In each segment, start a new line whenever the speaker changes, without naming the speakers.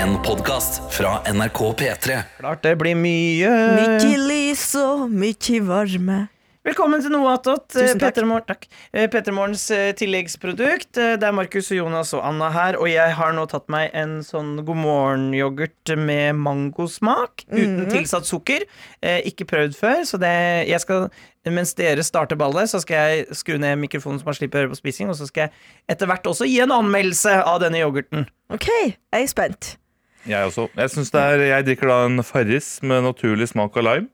En podcast fra NRK P3
Klart det blir mye.
Eh,
Mykje lys og mykje varme.
Velkommen til noe attåt.
Tusen takk.
Petremorn- takk. Eh, Petremorgens eh, tilleggsprodukt. Eh, Det er Markus og Jonas og Anna her, og jeg har nå tatt meg en sånn god morgen-yoghurt med mangosmak uten
Mhm.
tilsatt sukker. Eh, Ikke prøvd før, så det jeg skal mens dere starter ballet, så skal jeg skru ned mikrofonen så man slipper å høre på spising, og så skal jeg etter hvert også gi en anmeldelse av denne yoghurten.
OK, jeg er spent.
Jeg også. Jeg, synes det er, jeg drikker da en Farris med naturlig smak av lime.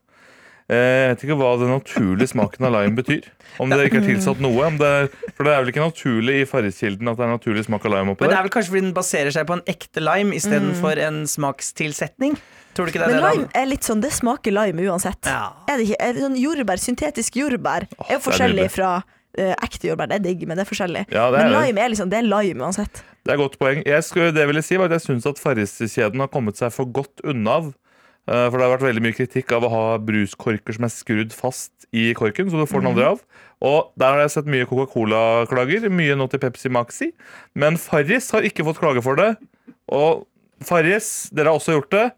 Eh, Jeg vet ikke hva den naturlige smaken av lime betyr. Om det ikke er tilsatt noe. Om det er, for det er vel ikke naturlig i Farris-kilden at det er naturlig smak av lime oppi
Men det er
der?
vel kanskje fordi den baserer seg på en ekte lime istedenfor en smakstilsetning? Tror du ikke det er
Mm. Men
det? da?
lime er litt sånn, det smaker lime uansett.
Ja.
Er det ikke? Er det sånn jordbær, syntetisk jordbær er
Åh,
jo
det er
forskjellig
nydelig.
fra eh, ekte jordbær. Det er digg, men det er forskjellig.
Ja, det er
men
det.
lime er liksom, det er lime uansett.
Det er et godt poeng. Jeg skulle, det vil jeg si var at jeg syns at Farris-kjeden har kommet seg for godt unna av. Eh, For det har vært veldig mye kritikk av å ha bruskorker som er skrudd fast i korken. Så du får den aldri av Og der har jeg sett mye Coca-Cola-klager. Mye nå til Pepsi Maxi. Men Farris har ikke fått klage for det. Og Farris, dere har også gjort det.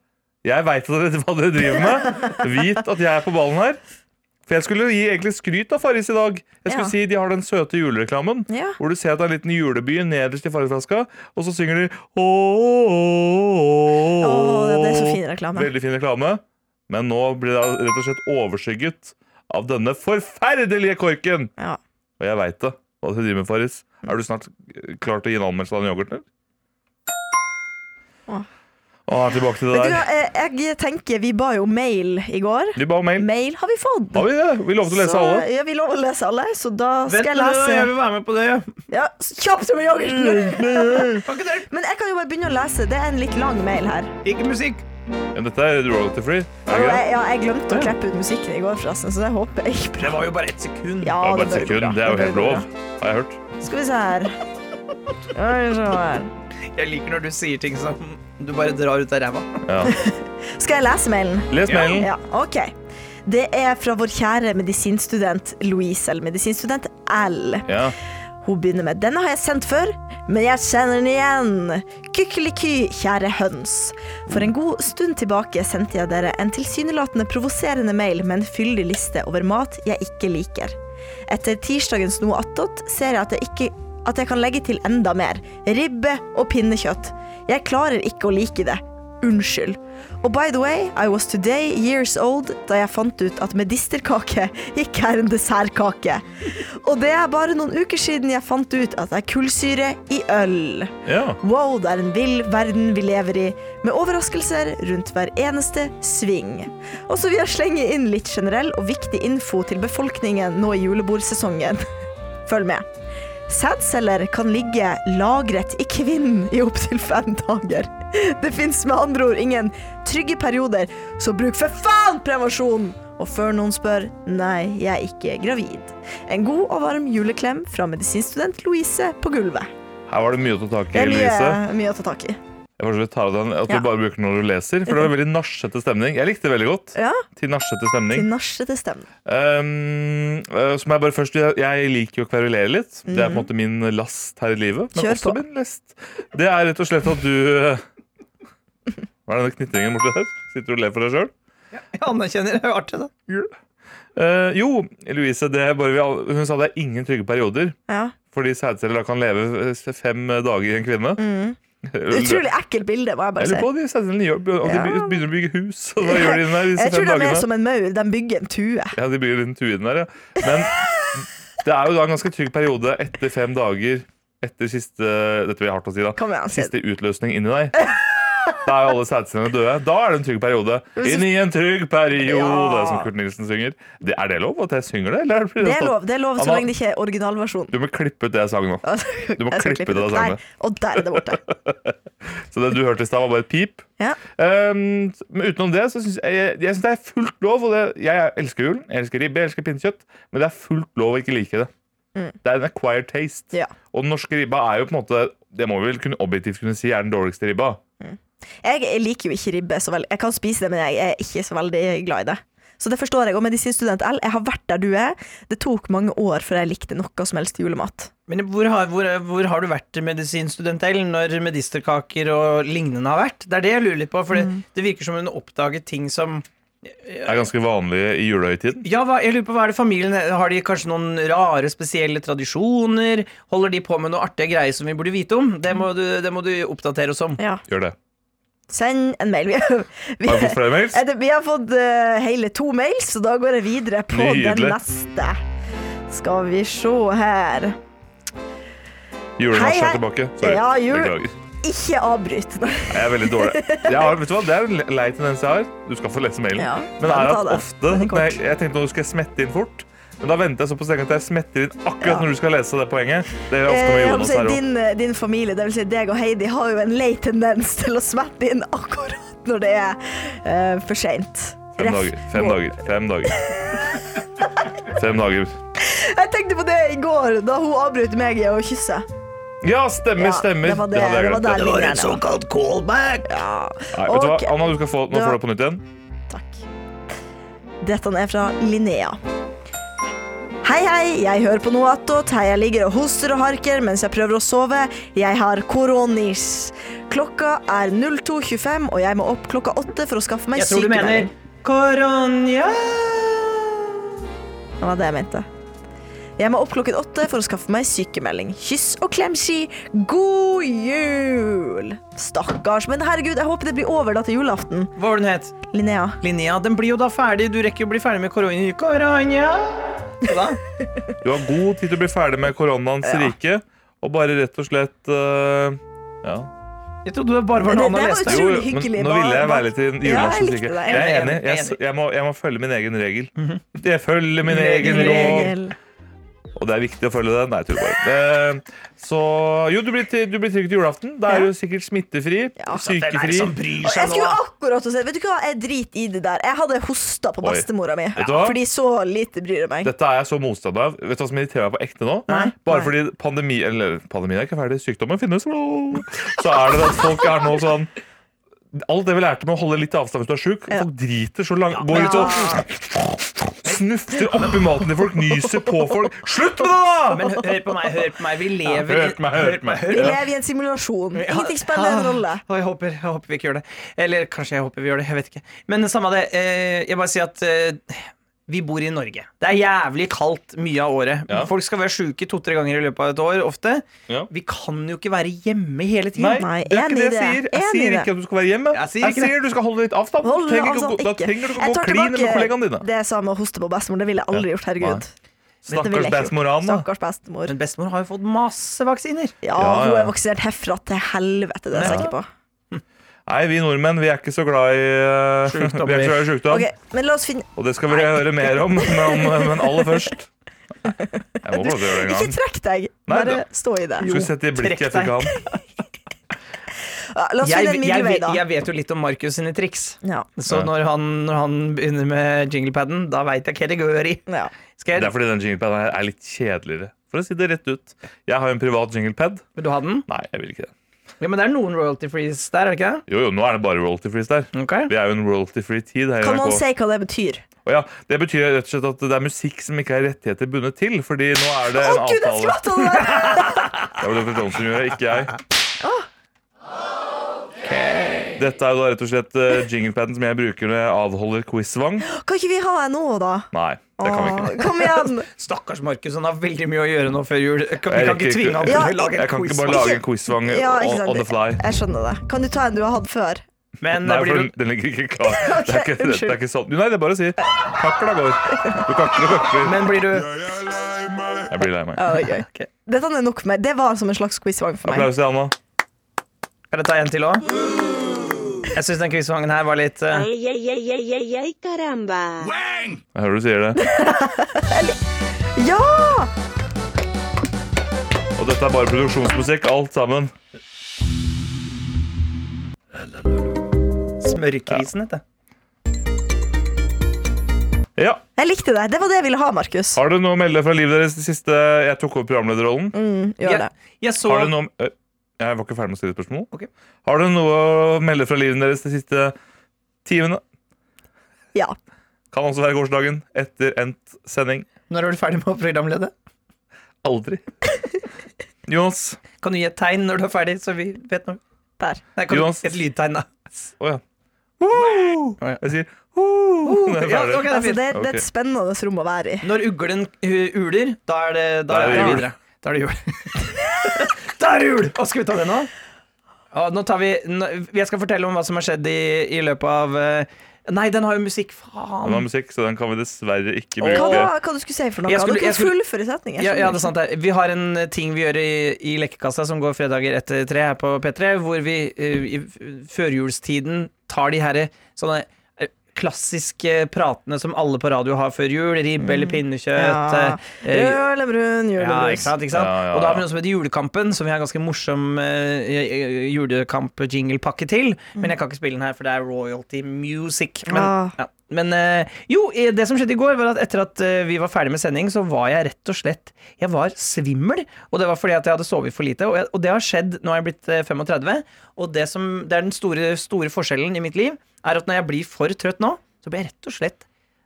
Jeg veit hva dere driver med. Vit at jeg er på ballen her. For jeg skulle gi egentlig skryt av Farris i dag. Jeg skulle
Ja.
si De har den søte julereklamen.
Ja.
Hvor du ser at det er en liten juleby nederst i fargeflaska, og så synger de Ååå.
Åh, det er så fin reklame.
Veldig fin reklame. Men nå blir det rett og slett overskygget av denne forferdelige korken.
Ja.
Og jeg veit det. Hva du driver med, Farris? Er du snart klar til å gi en anmeldelse av den yoghurten?
Åh.
Åh, tilbake til det
Vet du hva,
der.
eh, jeg tenker, vi ba jo om mail i går.
Vi ba om mail.
Mail har vi fått.
Har vi det? Vi lovte å lese
så, eh,
alle.
Ja, vi lover å lese alle, så da skal
Vent
jeg
nå, jeg
lese.
vil være med på det.
Ja, kjapt med
Mm.
yoghurten!
Kan ikke dere
Men jeg kan jo bare begynne å lese. Det er en litt lang mail her.
Ikke musikk.
Ja, dette er royalty free. Er det
Og
ikke det?
jeg, ja, jeg glemte å klippe ut musikken i går, forresten, så det håper jeg ikke
Det var jo bare ett sekund.
Ja,
Det er bare
det
et
bør gå
sekund.
bra.
Det er jo
Det
helt
bør gå
lov, har jeg hørt.
bra. Skal vi se her. Skal vi se her.
Jeg liker når du sier ting som du bare drar ut av ræva.
Ja.
Skal jeg lese mailen?
Les
Ja.
mailen.
Ja, OK. Det er fra vår kjære medisinstudent Louise, eller medisinstudent L.
Ja.
Hun begynner med Denne har jeg sendt før, men jeg kjenner den igjen. Kykkeliky, kjære høns. For en god stund tilbake sendte jeg dere en tilsynelatende provoserende mail med en fyldig liste over mat jeg ikke liker. Etter tirsdagens noe attåt ser jeg at jeg ikke at jeg kan legge til enda mer. Ribbe og pinnekjøtt. Jeg klarer ikke å like det. Unnskyld. Og by the way, I was today years old da jeg fant ut at medisterkake ikke er en dessertkake. Og det er bare noen uker siden jeg fant ut at det er kullsyre i øl.
Ja.
Wow, det er en vill verden vi lever i, med overraskelser rundt hver eneste sving. Og så vil jeg slenge inn litt generell og viktig info til befolkningen nå i julebordsesongen. Følg med. Sædceller kan ligge lagret i kvinnen i opptil fem dager. Det fins med andre ord ingen trygge perioder, så bruk for faen prevensjon! Og før noen spør nei, jeg er ikke gravid. En god og varm juleklem fra medisinstudent Louise på gulvet.
Her var det mye å ta tak
Det
i,
er mye,
Lise.
mye å ta tak i.
Jeg foreslår vi tar av den at
Ja.
du bare bruker den når du leser, for det var veldig narsete stemning. Jeg likte det veldig godt.
Ja,
Til narsete stemning.
til narsete stemme.
Um, uh, så må jeg bare først Jeg jeg liker jo å kverulere litt. Det er på en måte min last her i livet. Men
Mhm. Kjør
også
på.
min lest. Det er rett og slett at du uh, Hva er denne knitringen borti der? Sitter du og ler for deg sjøl?
Jeg anerkjenner det. det er jo Artig, da.
Uh, jo, Louise, det er bare vi, all- hun sa det er ingen trygge perioder.
Ja.
Fordi sædceller da kan leve eh, fem eh, dager i en kvinne.
Mhm. Utrolig ekkelt bilde, må jeg bare
Jeg lurer
si.
på om de sædcellene gjør- om de
Ja.
be- begynner å bygge hus. Og da gjør de den der disse
Jeg
fem
tror de er
dagene.
som en maur, de bygger en tue.
Ja, de blir litt tuen der, ja. Men det er jo da en ganske trygg periode etter fem dager etter siste Dette blir hardt å si, da.
Kom igjen, Sid.
Siste utløsning inni deg. Da er jo alle sædcellene døde. Da er det en trygg periode. Inn i en trygg periode,
Ja.
som Kurt Nilsen synger. Det, er det lov at jeg synger det? Eller blir
Det er lov, det er lov så
Anna,
lenge det ikke er originalversjonen. Altså,
Du må klippe ut det jeg sang nå.
Du
må klippe det av sangene.
Og der er det borte.
Så det du hørte i stad, var bare et pip.
Ja.
Um, men utenom det, så syns jeg, jeg, jeg synes det er fullt lov. Og det, jeg elsker julen, jeg elsker ribbe, jeg elsker pinnekjøtt, men det er fullt lov å ikke like det. Det er en acquired taste.
Mm. Ja.
Og den norske ribba er jo på en måte Det må vi vel kunne, objektivt kunne si er den dårligste ribba.
Jeg liker jo ikke ribbe så veldig. Jeg kan spise det, men jeg er ikke så veldig glad i det. Så det forstår jeg. Og medisinstudent L, jeg har vært der du er. Det tok mange år før jeg likte noe som helst julemat.
Men hvor har, hvor, hvor har du vært medisinstudent Ellen når medisterkaker og lignende har vært? Det er det jeg lurer litt på, for det,
Mm.
det virker som hun oppdaget ting som
Det er ganske vanlig i julehøytiden.
Ja, hva, jeg lurer på, hva er det familien Har de kanskje noen rare, spesielle tradisjoner? Holder de på med noe artige greier som vi burde vite om? Det må du, det må du oppdatere oss om.
Ja.
Gjør det.
Send en mail. Vi, vi,
Har vi fått flere mails?
Er Eh, det, vi har fått eh, hele to mails, så da går jeg videre på den
Nydelig.
neste. Skal vi se her.
Julenasj
Hei, hei.
er tilbake. Sorry.
Ja, jul.
Beklager.
Ikke avbryt.
Jeg er veldig dårlig. Jeg har, vet du hva? Det er en lei tendens jeg har. Du skal få lese mailen.
Ja,
men det
ta
er at
det.
ofte
Den er kort.
jeg, jeg tenkte nå skal jeg smette inn fort. Men da venter jeg såpass lenge at jeg smetter inn akkurat
Ja.
når du skal lese det poenget. Det gjør jeg ofte
Eh,
med
jeg må
Jonas
si,
her også.
din, din familie, dvs. Si deg og Heidi, har jo en lei tendens til å smette inn akkurat når det er eh, for seint.
Fem dager, fem dager, fem dager. Fem dager.
Jeg tenkte på det i går, da hun avbrøt meg i å kysse.
Ja, stemmer,
Ja,
stemmer.
det var det-
hadde jeg
det var sånn
glemt.
der linjen er nå.
såkalt callback!
Ja.
Nei, vet du hva?
Ok.
Anna, du skal få, nå
Det
får
var-
du det på nytt igjen.
Takk. Dette er fra Linnea. Hei, hei, jeg hører på noe attåt. Hei, jeg ligger og hoster og harker mens jeg prøver å sove. Jeg har koronis. Klokka er 02.25, og jeg må opp klokka åtte for å skaffe meg
Jeg tror du mener
sykemelding.
Koronja
Det var det jeg mente. Jeg må opp klokken åtte for å skaffe meg sykemelding. Kyss og klemski. God jul! Stakkars. Men herregud, jeg håper det blir over da til julaften.
Hva var det hun het?
Linnea.
Linnea. Den blir jo da ferdig. Du rekker jo å bli ferdig med koron- koronja. Hva da?
Du har god tid til å bli ferdig med koronaens rike, og bare rett og slett eh, ja.
Jeg trodde det bare var
Det-
noe annet
det
å
var
lese.
utrolig hyggelig,
nå
bare-
ville jeg
bare-
være litt i
Ja, jeg
julenasjens
likte
rike.
deg.
Jeg er enig.
Jeg er
Jeg,
enig.
jeg, må, jeg må følge min egen regel. Jeg følger min egen lov.
Regel.
Og det er viktig å følge den. Nei, jeg tuller bare. Eh, Så jo, du blir, til- du blir trygg til julaften. Da er du sikkert smittefri.
Ja.
Hvem er det
Sykefri.
som bryr
Og Jeg
seg nå?
skulle akkurat å si Vet du hva, jeg driter i det der. Jeg hadde hosta på
Oi.
bestemora mi.
du hva?
Fordi så lite bryr jeg meg.
Dette er jeg så motstander av. Vet du hva som irriterer meg på ekte nå?
Nei.
Bare
Nei.
fordi pandemi, eller, pandemien er ikke ferdig, sykdommen finnes, så er det det at folk er nå sånn Alt det vi lærte med å holde litt avstand hvis du er sjuk, folk driter så langt. Går ut og snufter oppi maten til folk, nyser på folk. Slutt med det, da!
Men hø- hør på meg, hør på meg. Vi lever i-
Hør på meg, hør på meg.
Vi lever i en simulasjon. Ingenting spiller en
Ah,
rolle.
og jeg håper, jeg håper vi ikke gjør det. Eller kanskje jeg håper vi gjør det. Jeg vet ikke. Men samme av det. eh, Jeg bare sier at eh, vi bor i Norge. Det er jævlig kaldt mye av året.
Ja.
Folk skal være sjuke to-tre ganger i løpet av et år ofte.
Ja.
Vi kan jo ikke være hjemme hele tiden.
Nei,
Nei,
det er
enig
ikke
i
det jeg
det.
sier.
Enig
Jeg
i
sier
det.
ikke at du skal være hjemme.
Jeg sier
Jeg
ikke det.
sier du skal holde litt avstand.
Hold
Trenger ikke å
avstand,
gå- Da
altså ikke.
trenger du ikke
Jeg
å gå
tar
klin med
tilbake
kollegaene dine.
Det jeg sa med å hoste på bestemor, det ville jeg aldri gjort. Herregud. Dette ville jeg
Stakkars
ikke gjort.
bestemor Anna.
Stakkars bestemor.
Men bestemor har jo fått masse vaksiner.
Ja,
Ja,
hun
ja.
er vaksinert herfra til helvete, det er jeg sikker på.
Nei, vi nordmenn, vi er ikke så glad i eh, Vi er
Sjukdommer.
ikke så glad i sjukdom.
Ok, men la oss finne
Og det skal vi høre mer om, men, men aller først Jeg må prøve å gjøre det en
Ikke
gang.
trekk deg,
Nei,
bare
da-
stå i det.
Skulle sett i blikket jeg
trekk
fikk av ham.
Ja, La oss
Jeg,
finne en
jeg,
middelvei,
vet-
da.
jeg vet jo litt om Markus sine triks.
Ja.
Så
Ja.
når han, når han begynner med jinglepaden, da veit jeg hva det går i.
Ja.
Skal
Det er
jeg,
fordi den jinglepaden her er litt kjedeligere. For å si det rett ut. Jeg har en privat jinglepad.
vil du ha den?
Nei, jeg vil ikke det.
Ja, Men det er noen royalty frees der, er det ikke det?
Jo, jo, nå er det bare royalty frees der.
Ok.
Vi er jo en royalty free tid her i
Kan noen
NRK.
si hva det betyr?
Og ja, det betyr rett og slett at det er musikk som ikke er rettigheter bundet til, fordi nå er det
Å
en
gud, jeg
avtale.
skvatt av det der!
Det var Dr. Johnson gjorde, ikke jeg. Dette er jo da rett og slett eh, jinglepaden som jeg bruker når jeg avholder quizvang.
Kan ikke vi ha en nå, da?
Nei, det kan vi ikke.
Åh, Kom igjen!
Stakkars Markus, han har veldig mye å gjøre nå før jul. Vi kan
Jeg
ikke
rekker
tvinge ham til
ikke-
Ja,
å lage
Jeg
en
kan ikke
quiz.
bare lage en quizvang
Ja, ikke
on,
sant?
on the fly.
Jeg skjønner det. Kan du ta en du har hatt før?
Men det
Nei, for
blir
den,
jo
den ligger ikke klar. Det er ikke, det, det
unnskyld.
er ikke sånn. Nei, det er bare å si kakla går. Du kakler og kakler.
men blir du
Jeg blir lei meg.
Ja, det er gøy.
Ok.
Dette er nok for meg. Det var som en slags quizvang for meg.
Applaus til Anna.
Kan jeg ta en til òg? Jeg syns den quizvangen her var litt eh,
Ay, ay, ay, ay, ay, ay, caramba.
Jeg hører du sier det.
Ja!
Og dette er bare produksjonsmusikk, alt sammen.
smørkrisen, heter det.
Ja.
Jeg likte det. Det var det jeg ville ha, Markus.
Har du noe å melde fra livet deres det siste jeg tok over programlederrollen?
Mm, gjør det.
Jeg, jeg så
Har du noe om- Ø, Jeg var ikke ferdig med å stille spørsmål.
Ok.
Har du noe å melde fra livet deres de siste timene?
Ja.
Kan også være gårsdagen etter endt sending.
Når er du ferdig med å programlede?
Aldri. Jonas.
Kan du gi et tegn når du er ferdig, så vi vet noe?
Der.
Nei, kan du,
Jonas.
et lydtegn, da.
Å ja. Woo!
Å, ja.
Jeg sier woo! når jeg
Oh, Ja,
er
ok, det
ferdig.
er
Altså,
fint.
det, er- det er et spennende rom å være i.
Når uglen uh, uler, da er det Da er det
jul.
videre. Da er det jul. da er det jul! Og skal vi ta det nå? Ja, nå tar vi nå- Jeg skal fortelle om hva som har skjedd i, i løpet av eh, Nei, den har jo musikk.
Den har
Faen.
musikk, så den kan vi dessverre ikke
Hva,
bruke.
da- hva du skulle si for noe?
Jeg skulle-
du
jeg
kunne
skulle-
fullføre setningen.
Ja, ja, det er sant det. Vi har en eh, ting vi gjør i, i Lekkekassa som går fredager etter tre her på P3, hvor vi eh, i f- førjulstiden tar de herre sånne eh, klassiske pratene som alle på radio har før jul. Ribbe eller pinnekjøtt.
Ja.
eh, eh,
Rød eller brun,
Ja, ikke
julebrus.
sant, ikke sant?
Ja, ja,
Og da har vi
ja.
noe som heter Julekampen, som vi har en ganske morsom eh, julekamp-jinglepakke til. Men jeg kan ikke spille den her, for det er royalty music. Men,
Ah.
ja. men eh, jo, eh, det som skjedde i går, var at etter at eh, vi var ferdig med sending, så var jeg rett og slett Jeg var svimmel. Og det var fordi at jeg hadde sovet for lite. Og, jeg, og det har skjedd. Nå er jeg blitt eh, 35, og det, som, det er den store, store forskjellen i mitt liv, er at når jeg blir for trøtt nå, så blir jeg rett og slett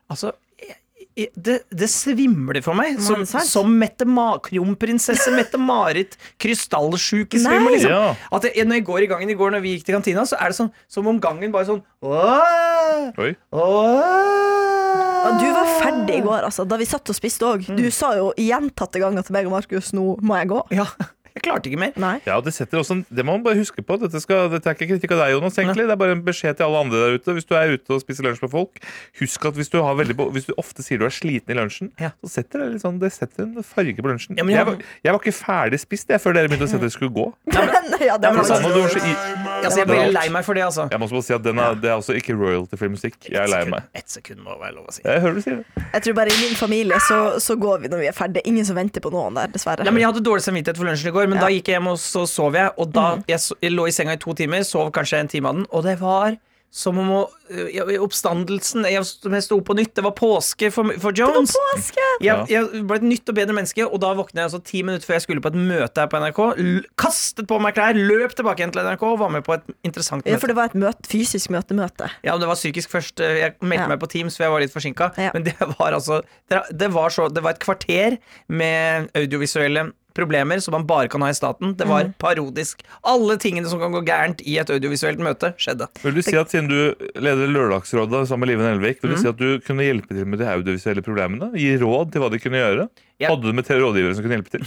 Altså jeg- jeg- det, det svimler for meg, som,
Men sant.
som Mette Ma kronprinsesse Mette-Marit krystallsjukesvimmel.
Nei.
Liksom.
Ja.
At jeg, når jeg går i gangen i går når vi gikk til kantina, så er det sånn som om gangen bare sånn åh,
Oi.
åh.
Ja, du var
Ah.
ferdig i går, altså, da vi satt og spiste òg.
Mm.
Du sa jo gjentatte ganger til meg og Markus nå må jeg gå.
Ja, jeg klarte ikke mer.
Nei.
Ja, og Det setter også en, det må man bare huske på. Dette, skal, dette er ikke kritikk av deg, Jonas. egentlig Det er bare en beskjed til alle andre der ute. Hvis du er ute og spiser lunsj med folk, husk at hvis du, har veldig, hvis du ofte sier du er sliten i lunsjen,
Ja.
så setter det, litt sånn, det setter en farge på lunsjen.
Ja, men
jeg,
jeg-
var, jeg var ikke ferdig spist jeg, før dere begynte å si at dere skulle gå.
ja, det
men
var
altså,
Anna,
faktisk-
du var så i-
Altså, jeg ble lei meg for det, altså.
Jeg må også bare si at den er, Det er også ikke royalty-free musikk. Jeg er lei meg.
Ett sekund må være lov å si.
Jeg hører du sier det.
Jeg tror bare i min familie så, så går vi når vi er ferdige. Ingen som venter på noen der, dessverre.
Nei, men Jeg hadde dårlig samvittighet for lunsjen i går, men da
Ja. Mm.
gikk jeg hjem og så sov jeg. Og da jeg, so jeg lå i senga i to timer, sov kanskje en time av den, og det var som om å, øh, jeg- oppstandelsen Jeg, jeg sto opp på nytt. Det var påske for, for Jones.
Påske!
Jeg, jeg ble et nytt og bedre menneske, og da våkna jeg altså ti minutter før jeg skulle på et møte her på NRK. L kastet på meg klær, løp tilbake igjen til NRK og var med på et interessant
Ja,
møte.
for det var et møte, fysisk møte-møte.
Ja, men Det var psykisk først. eh, Jeg meldte
Ja.
meg på Teams, for jeg var litt forsinka.
Ja.
Men det var altså det det var, så, det var et kvarter med audiovisuelle problemer som man bare kan ha i staten. Det
Mhm.
var parodisk. Alle tingene som kan gå gærent i et audiovisuelt møte, skjedde.
Vil du si at Siden du leder Lørdagsrådet sammen med Liven
Mm.
Elvik, vil du si at du kunne hjelpe til med de audiovisuelle problemene? Gi råd til hva de kunne gjøre?
Ja.
Hadde du med te- rådgivere som kunne hjelpe til?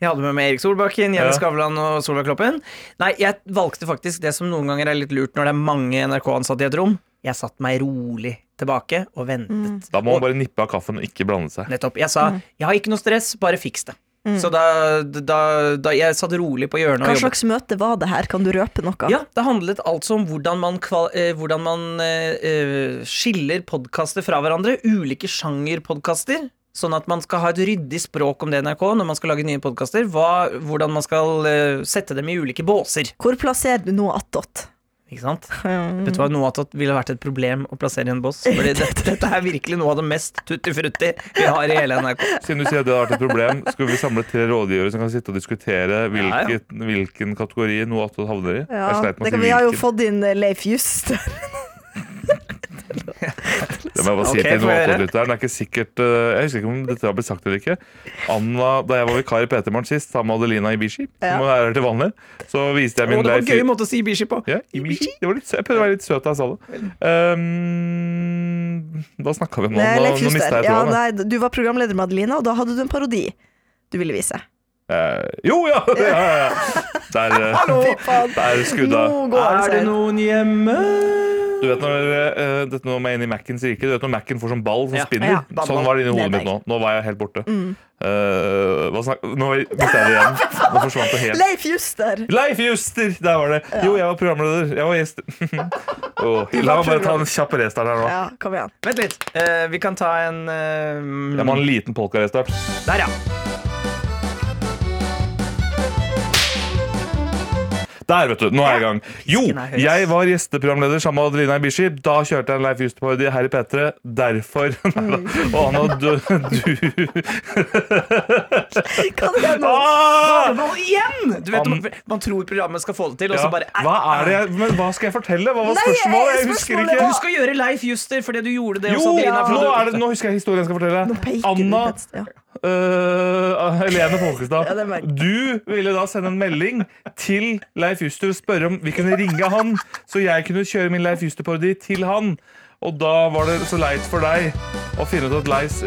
Jeg hadde med meg Erik Solbakken, Jenny
Ja.
Skavlan og Solveig Kloppen. Nei, jeg valgte faktisk det som noen ganger er litt lurt når det er mange NRK-ansatte i et rom. Jeg satt meg rolig tilbake og ventet.
Mm.
Da må man bare nippe av kaffen og ikke blande seg.
Nettopp. Jeg sa 'jeg har ikke noe stress, bare fiks det'.
Mm.
Så da, da, da Jeg satt rolig på hjørnet
Hva
og jobbet.
slags møte var det her? Kan du røpe noe?
Ja, Det handlet altså om hvordan man, kval eh, hvordan man eh, eh, skiller podkaster fra hverandre. Ulike sjangerpodkaster. Sånn at man skal ha et ryddig språk om det i NRK når man skal lage nye podkaster. Hvordan man skal eh, sette dem i ulike båser.
Hvor plasserer du noe attåt?
Ikke sant? Vet du hva, noe av det ville vært et problem å plassere i en boss. Fordi dette, dette er virkelig noe av det mest tutti-frutti vi har i hele NRK.
Siden du sier at det har vært et problem, skulle vi samle tre rådgivere som kan sitte og diskutere
Ja, ja.
hvilket, hvilken kategori noe attåt havner i?
Ja,
Jeg
det
sleit med å si
kan, vi har jo
hvilken.
fått inn eh, Leif Just.
Det må jeg bare si
Ok,
til
får
noe
jeg høre.
attåt-lytteren. Det er ikke sikkert eh, Jeg husker ikke om dette har blitt sagt eller ikke. Anna, da jeg var vikar i PT Morgen sist, sammen med Adelina Ibishi,
Ja.
som er her til vanlig, så viste jeg
Og det
min
var en
Leif
gøy måte å si Ibishi på.
Ja, Ibishi. Det var litt sø- Jeg prøvde å være litt søt da jeg sa det. Um, hva snakka vi om nå?
Nei,
Nå,
Leif
nå
Just
mista
der.
jeg
Ja,
tråden. jeg.
nei, du var programleder med Adelina, og da hadde du en parodi du ville vise.
Eh, jo, ja! ja, ja, ja. Der, eh,
Fy faen.
der skudda.
Nå går
Er
det
det
seg.
noen hjemme?
Du vet når eh, dette nå med inni Mac-ens rike Du vet når Mac-en får sånn ball som
Ja.
spinner?
Ja, ball, Mm.
sånn var det inni hodet
det er
mitt nå. Nå var jeg helt borte. Eh, hva snak nå mista jeg det igjen. Nå forsvant det helt.
Leif Juster!
Leif Juster! Der var det. Jo, jeg var programleder. Jeg var gjest. Åh, la meg bare ta en kjapp restart her nå.
Ja, kom igjen.
Vent litt. Eh, vi kan ta en eh,
Jeg må ha en liten polkarestart.
Der, ja.
Der, vet du. Nå er jeg i gang. Jo,
Fisken er høy, ass.
jeg var gjesteprogramleder sammen med Adelina Ibishi. Da kjørte jeg en Leif Just-parodi her i P3. Derfor Neida. Og han og du, du.
Hva er det nå?
Ah!
Karneval igjen! Du vet,
Am-
man, man tror programmet skal få det til, og
Ja.
så bare
Hva er det jeg Men hva skal jeg fortelle? Hva var
Nei,
spørsmålet? Jeg husker
spørsmålet
Du
ikke.
skal gjøre Leif Juster fordi du gjorde det.
Jo,
også, Adelina, for
nå,
du-
er det, nå husker jeg historien jeg skal
Nå
fortelle.
peker du
Anna,
på et sted, ja.
øh, Helene
Ja, det
Folkestad,
merker jeg.
du ville da sende en melding til Leif Juster og spørre om vi kunne ringe han, så jeg kunne kjøre min Leif Juster-parodi til han. Og da var det så leit for deg å finne ut at Leis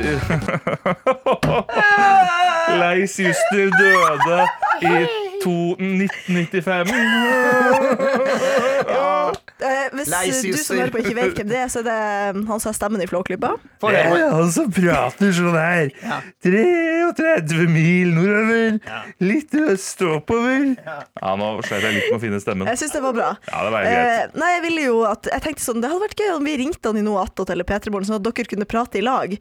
Leis Juster døde i to- 1995.
Eh, hvis
Nei,
eh, du som
Suser.
hører på ikke vet hvem det er, så er det eh, han som har stemmen i Flåklypa.
For det var-
han som prater sånn her. 33 mil nordover, litt øst oppover. Ja, nå slet jeg litt med å finne stemmen.
Jeg syns det var bra.
Ja, det var helt greit.
Eh, nei, jeg ville jo at Jeg tenkte sånn, det hadde vært gøy om vi ringte han i noe attåt eller P3morgen, sånn at dere kunne prate i lag.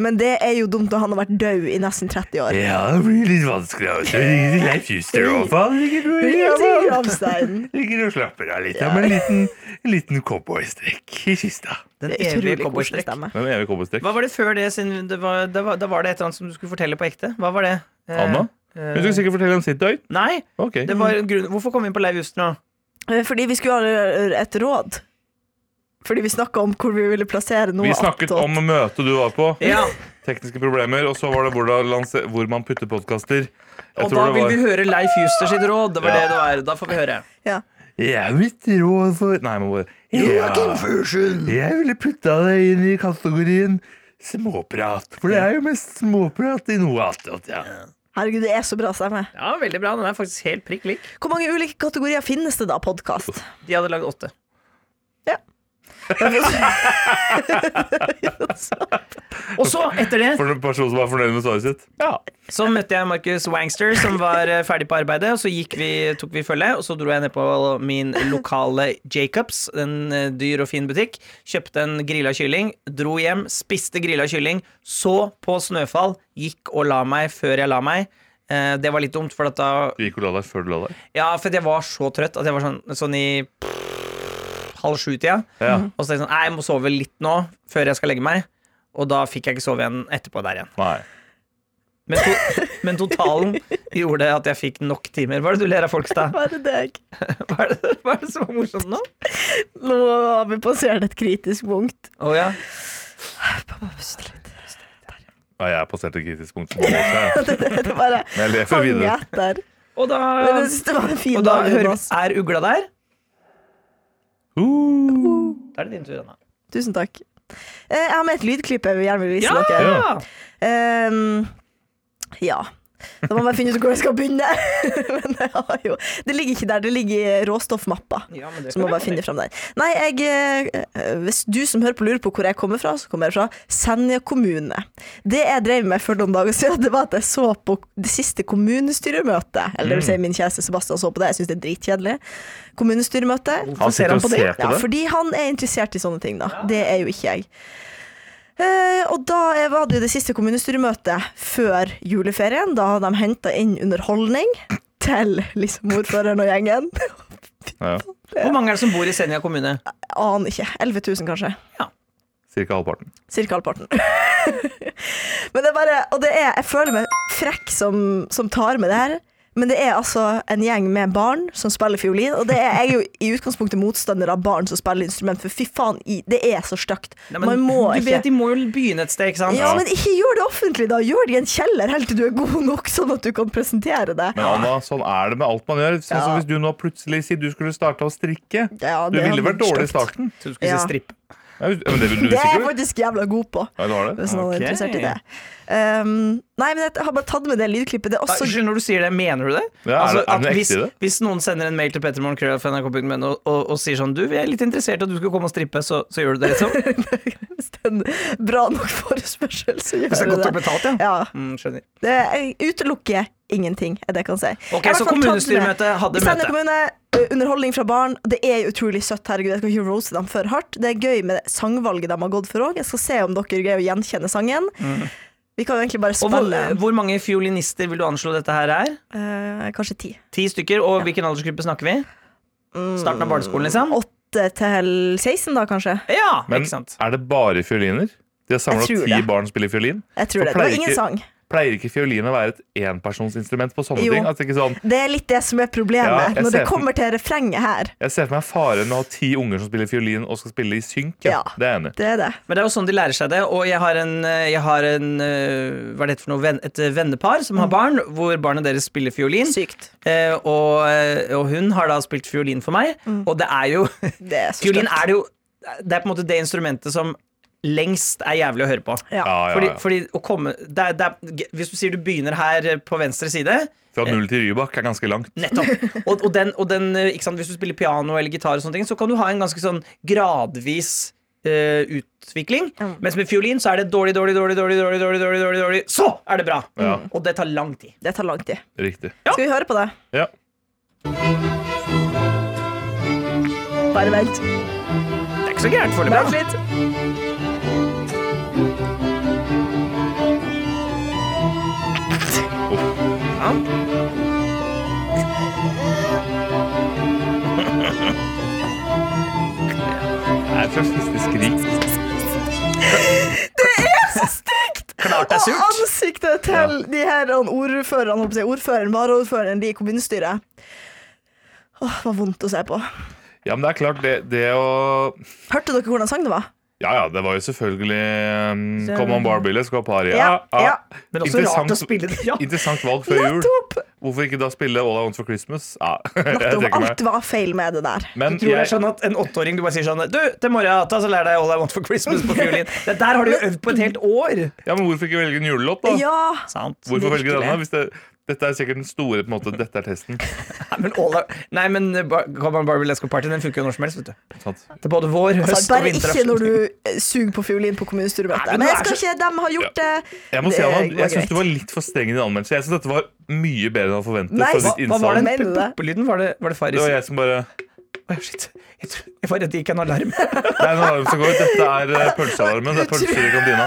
Men det er jo dumt når han har vært død i nesten 30 år.
Mm. Ja, det blir litt vanskelig. altså. Leif Juster og faen, ligger du
Ring
ja,
til
man.
Gravstein.
Ligger og slapper av litt. Ja, med en liten, en liten cowboystrekk i kista.
Den
Det er
evige
utrolig koselig
cowboystrekk.
stemme.
Den evige cowboystrekk.
Hva var det før det? Siden det var, det var, da var det et eller annet som du skulle fortelle på ekte. Hva var det? Eh,
Anna?
eh,
Hun skulle sikkert fortelle om sitt døgn.
nei,
Ok.
det var en grunn Hvorfor kom vi inn på Leiv Juster nå?
Eh, Fordi vi skulle ha eh, et råd. Fordi vi snakka om hvor vi ville plassere noe
Vi snakket
attåt.
om møtet du var på,
Ja,
tekniske problemer, og så var det hvor, da lanse- hvor man putter podkaster.
og da vil vi høre Leif Juster sitt råd. Det var
Ja.
det det var. Da får vi høre.
Ja.
Jeg mitt råd for Nei, må bare Jeg ville putta det inn i kategorien småprat. For det er jo mest småprat i noe attåt, ja.
Herregud, det er så bra stemme.
Ja, veldig bra. Den er faktisk helt prikk lik.
Hvor mange ulike kategorier finnes det da, podkast?
De hadde lagd åtte. Og så, etter det,
For en person som var fornøyd med svaret sitt. Ja.
så møtte jeg Markus Wangster, som var eh, ferdig på arbeidet. Og så gikk vi, tok vi følge, og så dro jeg ned på min lokale Jacobs, en eh, dyr og fin butikk. Kjøpte en grilla kylling, dro hjem, spiste grilla kylling. Så på Snøfall, gikk og la meg før jeg la meg. Eh, Det var litt dumt, for at da
Du gikk og la deg før du la deg?
Ja, for jeg var så trøtt at jeg var sånn, sånn i halv sju-tida.
Ja.
Og så tenkte jeg sånn, nei, jeg må sove litt nå, før jeg skal legge meg. Og da fikk jeg ikke sove igjen etterpå der igjen.
Nei.
Men, to, men totalen gjorde at jeg fikk nok timer. Hva er det du ler av, Folkstad?
Bare deg.
Hva er det, hva er det som er morsomt nå?
Nå har vi passert et kritisk punkt.
Å ja.
Pappa, pust litt.
Ja, jeg passerte et kritisk punkt. som var også, jeg.
Det bare
Men jeg lever
hang
videre.
etter.
Og da,
Men jeg synes det var en fin
og da
dag,
hører,
Jonas.
er ugla der.
Uh.
Da er det din tur, Anna.
Tusen takk. Eh, Jeg har med et lydklipp jeg vil gjerne vil vise
Ja!
dere.
Ja.
Ehm, ja. Da må jeg bare finne ut hvor jeg skal begynne. Men jeg har jo Det ligger ikke der, det ligger i råstoffmappa.
Ja, men det
Så
kan
må jeg bare
jeg
finne fram der. Nei, jeg, eh, hvis du som hører på lurer på hvor jeg kommer fra, så kommer jeg fra Senja kommune. Det jeg drev med for noen dager siden, det var at jeg så på det siste kommunestyremøtet. Eller det
Mm.
vil si, min kjæreste Sebastian så på det, jeg syns det er dritkjedelig. Kommunestyremøte.
Han sitter og ser på
Ja,
det.
fordi han er interessert i sånne ting, da. Det er jo ikke jeg. Eh, og da eh, var det jo det siste kommunestyremøtet før juleferien. Da hadde de henta inn underholdning til liksom ordføreren og gjengen.
Ja.
Hvor mange er det som bor i Senja kommune?
Aner ikke. 11 000, kanskje.
Cirka halvparten.
Cirka halvparten. men det er bare Og det er Jeg føler meg frekk som, som tar med det her. Men det er altså en gjeng med barn som spiller fiolin. Og det er jeg er jo i utgangspunktet motstander av barn som spiller instrument, for fy faen, i, det er så stygt.
Nei, men
Man må
du
ikke
vet, De må jo begynne et sted, ikke sant?
Ja, men ikke gjør det offentlig, da. Gjør det i en kjeller helt til du er god nok, sånn at du kan presentere det.
Men Anna, sånn er det med alt man gjør. Sånn som
Ja.
Hvis du nå plutselig sier du skulle starte å strikke
Ja,
Du
det
ville
hadde
vært dårlig i
stygt.
starten.
Så du skulle
Ja.
si stripp.
Ja, men det vil du
Det er jeg
sikkert.
faktisk jævla god på.
Ja, du har det.
Hvis noen
Ok.
er interessert i det. Um, nei, men jeg har bare tatt med det lydklippet. Det er også
Unnskyld, når du sier det, mener du det? Altså,
Ja, er det- er det noe
at
ekte
hvis,
i det?
hvis noen sender en mail til pettermorgenkrøll.nrk.no og, og, og sier sånn Du, vi er litt interessert i at du skal komme og strippe, så, så gjør du det, liksom?
Hvis det er en bra nok forespørsel, så gjør
Hvis det er
jeg
godt nok
det.
betalt, ja.
Ja,
Mm, skjønner.
det jeg utelukker ingenting, er det jeg kan si. Jeg
Ok,
har i
så
hvert fall tatt med-
kommunestyremøtet
I
hadde
Senja
møte.
kommune, ø, underholdning fra barn. og Det er utrolig søtt, herregud. Jeg skal ikke roase dem for hardt. Det er gøy med sangvalget de har gått for òg. Jeg skal se om dere greier å gjenkjenne sangen. Vi kan jo egentlig bare
Mm. Og hvor,
spille
hvor mange fiolinister vil du anslå dette her er?
eh, kanskje ti.
Ti stykker, og hvilken aldersgruppe snakker vi?
Mm.
Starten av barneskolen, liksom?
8 til 16, da, kanskje?
Ja,
Men
ikke sant.
er det bare fioliner? De har samla
tror
ti
det.
barn spiller fiolin.
Jeg tror
For
det. Det var
pleier
ingen
ikke-
sang.
Pleier ikke fiolin å være et enpersonsinstrument på sånne
Jo.
ting? At det ikke er sånn,
Det er litt det som er
Ja,
problemet
jeg
når
ser
det
for-
kommer til refrenget her.
jeg ser for meg faren å ha ti unger som spiller fiolin og skal spille i synk. Ja.
Ja.
Det er jeg enig. i.
Det er det.
Men det er jo sånn de lærer seg det, og jeg har en, eh, jeg har en eh, Hva er det for noe? Venn, et vennepar som har barn, hvor barnet deres spiller fiolin.
Mm. Sykt.
Eh, og, eh, og hun har da spilt fiolin for meg,
Mm.
og det er jo
Det er så
Fiolin
stygt.
er det jo Det er på en måte det instrumentet som lengst er jævlig å høre på.
Ja.
Ja, ja,
Fordi,
ja.
fordi å komme det er, det er, Hvis du sier du begynner her eh, på venstre side
Fra null til Rybak er ganske langt.
Nettopp. Og, og, den, og den, eh, ikke sant, hvis du spiller piano eller gitar, og sånne ting, så kan du ha en ganske sånn gradvis eh, utvikling.
Mm.
Mens med fiolin så er det dårlig, dårlig, dårlig, dårlig, dårlig, dårlig, dårlig, dårlig, dårlig. Så er det bra!
Ja.
Og det tar lang tid.
Det tar lang tid.
Riktig.
Skal vi høre på det?
Ja.
Bare vent.
Det er ikke så gærent
Vent
foreløpig. da.
litt.
Ja.
Det er et slags siste skrik.
Klart det er
Og
surt.
ansiktet til de her ordførerne, håper jeg, ordføreren, varaordføreren, de i kommunestyret. Åh, det var vondt å se på.
Ja, men det er klart, det, det å
Hørte dere hvordan sang det var?
Ja ja, det var jo selvfølgelig um, Come on Barbie, skal ha pari.
Ja, ja.
Men også
Interessant-
rart å spille det. Ja.
Interessant valg før jul.
Nettopp!
Hvorfor ikke da spille All I Want for Christmas? Ja, jeg
Nettopp.
tenker meg.
Alt var feil med det der.
Men
Jeg tror det er
jeg,
sånn at En åtteåring du bare sier sånn Du, til morgenen ta, så lær deg All I Want for Christmas på fiolin. Det der har du jo øvd på et helt år!
ja, men hvorfor ikke velge en julelåt, da?
Ja!
Sant.
Hvorfor velge
virkelig.
denne? Hvis det, dette er sikkert den store på en måte, Dette er testen.
Nei, men, all I... Nei, men eh, Bar- Come on Barbie Let's Go Party Den funker jo når som helst. vet du
Sant?
Det er både vår, høst
Altså, bare
og vinter.
ikke når du eh, suger på fiolin på kommunestyremøtet.
Nei, men
Men
du
jeg
er
skal
så-
ikke, de har gjort eh, det.
Jeg må si,
Det
Anna,
var
jeg syns
greit.
du var litt for streng i din anmeldelse. Jeg synes dette var mye bedre enn jeg hadde forventet.
Nei,
fra
hva, hva
ditt
var
innsalg.
den
Mener du det?
puppelyden? Var det, var det
Det var
farris?
jeg som bare
Å, shit. Jeg, tror- jeg var redd det gikk en alarm.
Nei, nå er det som går. Dette er eh, pølsealarmen. Det er pølser i kantina.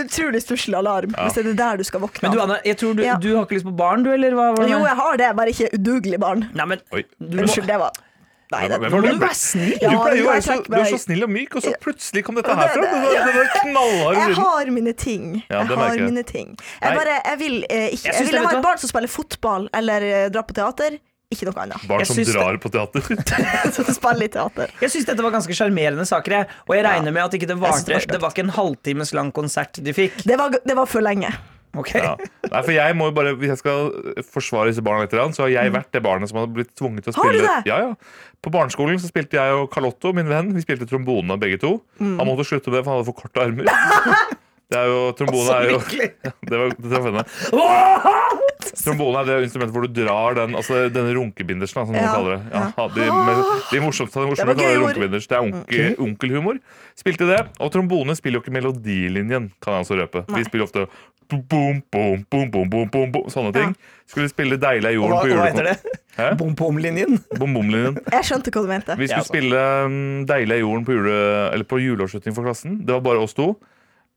Utrolig stusslig alarm. Hvis det er der du skal våkne
Men du,
av.
Anne, jeg tror du,
Ja.
du har ikke lyst på barn, du, eller hva? var det
Jo,
med?
jeg har det, bare ikke udugelig barn.
Nei, men
Oi.
du må,
Unnskyld, det var Nei, det
Hvem
nå
var
må
det?
du være snill!
Du
Ja, jeg
pleier jo å være så,
trekker
du er så
meg.
snill og myk, og så plutselig kom dette
Ja, det-
herfra. Det var, det var knallharde
Jeg
lyden.
har mine ting.
Ja, det
jeg
merker
har
jeg.
mine ting. Jeg
Nei.
bare, jeg vil eh,
Jeg
ikke Jeg
synes det,
vil ha
vet du
et
hva?
barn som spiller fotball eller eh, drar på teater. Ikke noe annet.
Barn
Jeg
som
synes det-
drar på teater.
Som spiller i teater.
Jeg syns dette var ganske sjarmerende saker, jeg. Og jeg regner med at ikke det
synes det
varte
var
Det var ikke en halvtimes lang konsert de fikk.
Det var, det var for lenge.
Ok?
Ja. Nei, for jeg må jo bare Hvis jeg skal forsvare disse barna litt, grann, så har jeg vært det barnet som hadde blitt tvunget til å
Mm. Har du
spille
det?
Ja, ja. På barneskolen så spilte jeg og Carlotto, min venn, vi spilte trombone begge to.
Mm.
Han måtte slutte med det, for han hadde for korte armer. Det er jo, trombone er jo
lykkelig.
det var, det traff henne. Trombone er det instrumentet hvor du drar den altså denne runkebindersen, da, som
Ja,
noen kaller det. Ja, de, med, de morsomste av de
var gøy
morsomme kaller det
ord.
runkebinders. Det er onkel, onkelhumor. Spilte det. Og trombone spiller jo ikke melodilinjen, kan jeg altså røpe.
Nei.
Vi spiller ofte bom, bom, bom, bom, bom, bom, bom, bom, sånne ting. Skulle spille Deilig er
Og
jorden
Hva,
på
hva heter
julekonsert.
det?
Hæ?
Bom-bom-linjen?
Bom, bom-linjen.
Jeg skjønte hva du mente.
Vi skulle
Ja, sant.
spille mm, Deilig er jorden på, jule, eller på juleårsslutning for klassen. Det var bare oss to.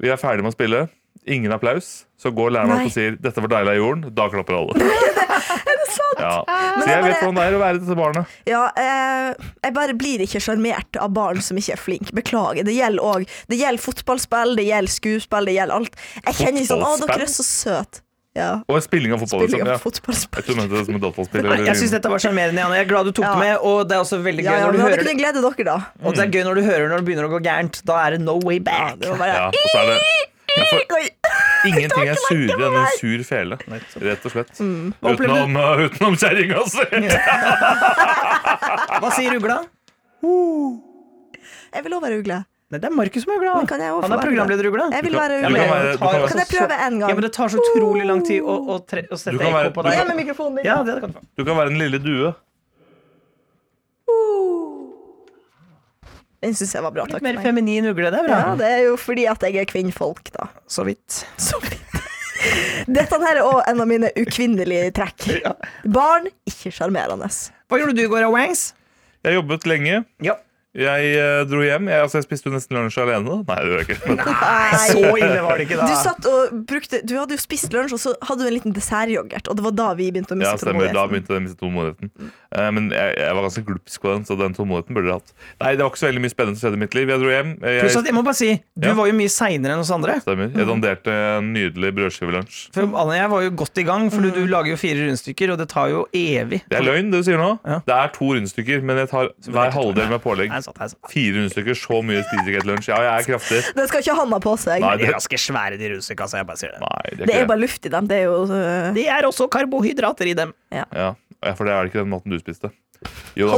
Vi er ferdige med å spille. Ingen applaus. Så går læreren
Nei.
opp og sier 'Dette var deilig av jorden'. Da klapper alle. er det
sant?
Ja.
Men
Så
det er
jeg vet
bare-
hvordan det er å være dette barnet.
Ja, eh, jeg bare blir ikke sjarmert av barn som ikke er flinke. Beklager. Det gjelder òg. Det gjelder fotballspill, det gjelder skuespill, det gjelder alt. Jeg kjenner ikke sånn Å, dere er så søte. Ja.
Og spilling av fotball.
Spilling av
Liksom. Ja. Jeg tror
fotballspill.
du mente det som en dataspill.
Nei,
eller-
jeg syns dette var sjarmerende, Janne. Jeg er glad du tok
Ja.
det med. Og det er også veldig gøy
Ja, ja,
når
men
du
hadde
hører
kunne glede dere, da.
Og det er gøy når du hører når det begynner å gå gærent. Da er det no way
Mm. Ja,
back.
det var bare
ja, og så er det ja, for
Oi.
Ingenting er surere enn en
meg.
sur fele, rett og slett.
Mm.
Hva opplevde
Utenom, uh, utenom kjerringa si!
Hva sier ugla?
Jeg vil òg være ugle.
Nei, det er Markus som er ugla.
Men kan jeg også
Han er
være
programlederugla.
Jeg vil
Du
være
kan- du
men
kan
ugle.
være-
det
du kan
tar
være-
Kan jeg prøve en gang?
Ja, men det tar så utrolig lang tid å, å, tre, å
Du
sette
kan være-
ekko på deg.
du
Ned med mikrofonen din.
Ja, det kan du få.
Du kan være en lille due.
Den syns jeg var bra. Takk
Litt mer
for meg.
feminin ugle, det er bra.
Ja, det er jo fordi at jeg er kvinnfolk, da.
Så vidt.
Så vidt. Dette her er òg en av mine ukvinnelige trekk. Barn ikke sjarmerende.
Hva gjorde du i går, Wangs?
Jeg jobbet lenge.
Ja.
Jeg eh, dro hjem. Jeg, altså, jeg spiste jo nesten lunsj alene. da. Nei, det gjør jeg ikke. Men,
Nei.
Så ille var det ikke da.
Du satt og brukte Du hadde jo spist lunsj, og så hadde du en liten dessertyoghurt. Og det var da vi begynte å
ja,
miste
stemmer. Da
tålmodigheten.
begynte jeg å miste tålmodigheten. Eh, Men jeg, jeg var ganske glupsk på den, så den tålmodigheten burde jeg hatt. Nei, det var ikke så veldig mye spennende som skjedde i mitt liv. Jeg dro hjem. Eh,
Pluss
Jeg,
at jeg må bare si, du
Ja.
var jo mye seinere enn oss andre.
stemmer. Jeg danderte en nydelig brødskivelunsj.
For
Mm.
Anne og jeg var jo godt i gang, for du, du lager jo fire rundstykker, og det tar jo evig.
Det er løgn, det du sier nå.
Ja.
Det er to rundstykker, men jeg tar hver halvdel med pålegg.
Nei, sant, nei, sant.
Fire rundstykker, så mye spiser ikke et lunsj. Ja, jeg er kraftig.
Den skal ikke Hanna på seg.
Nei,
De
det,
er ganske svære, de rundstykka, så jeg bare sier det.
nei,
Det
det er
er
ikke det.
bare luft i dem. Det er jo øh,
Det er også karbohydrater i dem.
Ja, ja, for det er ikke den maten du spiste. Jonas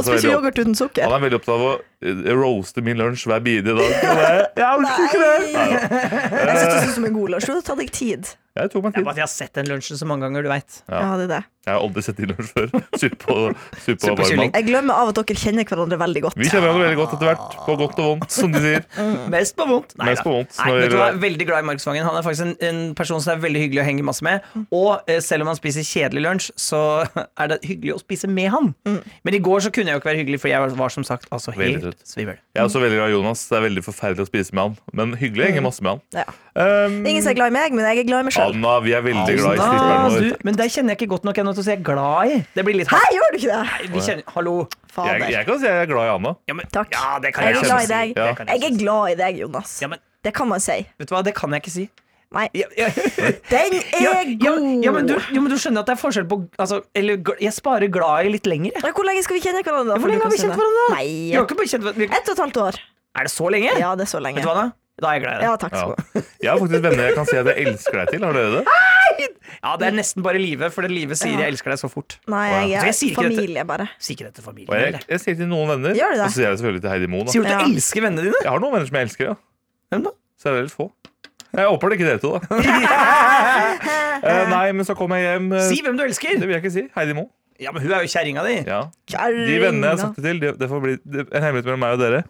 Han
er
spiser
veldig opp-
yoghurt uten sukker.
han er veldig opptatt av å eh, roaste min lunsj hver bidige dag. Og det-
Jeg orker ikke det!
Jeg synes det synes som en god lunsj. Du har tatt deg tid.
Jeg tok meg
Det er
tid.
bare at jeg har sett den lunsjen så mange ganger, du veit.
Ja.
Ja, det er det.
Jeg har aldri sett din lunsj før. Suppe og, suppe
Suppe og
og varm
kylling.
mat.
Jeg glemmer av at dere kjenner hverandre veldig godt.
Vi kjenner hverandre veldig godt etter hvert. På godt og vondt, som de sier.
Mest på vondt. Nei
Mest
da.
på vondt,
Nei,
når-
vet du hva? Veldig glad i Markus Vangen. Han er faktisk en, en person som det er veldig hyggelig å henge masse med. Og eh, selv om han spiser kjedelig lunsj, så er det hyggelig å spise med han. Men i går så kunne jeg jo ikke være hyggelig, for jeg var, var som sagt altså
Veldig
helt
trøtt.
svimmel.
Jeg er også veldig glad i Jonas. Det er veldig forferdelig å spise med han. Men hyggelig å henge masse med han.
Ja.
Um,
Det er Ingen som er glad i meg, men jeg er glad i meg sjøl.
Anna, vi er veldig glad i
Ah,
stripperen vår.
du, men der kjenner jeg ikke godt nok ennå til å si jeg er glad i. Det blir litt
Hæ,
hardt.
gjør du ikke det?
Vi kjenner, hallo.
Jeg,
Fader.
jeg kan si jeg er glad i Anna.
Ja, men,
Takk.
Ja, det kan jeg,
Jeg er
også
glad i
si.
deg.
Det kan jeg
Jeg er
også si.
glad i deg, Jonas.
Ja, men
Det kan man si.
vet du hva, det kan jeg ikke si.
Nei,
Ja, ja.
den
Ja,
er
ja, ja, men du,
god.
jo, men du skjønner at det er forskjell på altså, Eller gl- jeg sparer glad i litt lenger. jeg.
Ja, Hvor lenge skal vi kjenne hverandre? da,
Hvor
før du
lenge har
kan
vi
si
kjent
det?
hverandre? da? Vi har
Nei,
ikke bare kjent hver- vi-
ett og et halvt år.
Er det så lenge?
Ja, det er så lenge.
Vet du hva da? Da er jeg glad i
Ja,
deg.
takk
Ja.
skal du ha.
Jeg har faktisk venner jeg kan si at jeg elsker deg til. Har dere det?
Ja, det er nesten bare livet, for det livet sier
Ja.
'jeg elsker deg' så fort.
Nei,
Så
jeg
jeg
er
sier ikke dette.
familie, bare.
Si ikke det til familien.
Og jeg,
eller?
jeg sier til noen venner.
Gjør du det?
Og så sier jeg selvfølgelig til Heidi Moe. Da.
Sier du at du
Ja.
elsker vennene dine?
Jeg har noen venner som jeg elsker, ja.
Hvem da?
Så er det litt få. Jeg håper det ikke dere to, da. Eh, nei, men så kom jeg hjem. eh,
Si hvem du elsker!
Det vil jeg ikke si. Heidi Moe.
Ja, men hun er jo kjerringa di.
Ja. De vennene jeg har
Kjerringa.
sånn-
sagt det til, det, det får bli det, en hemmelighet mellom meg og dere.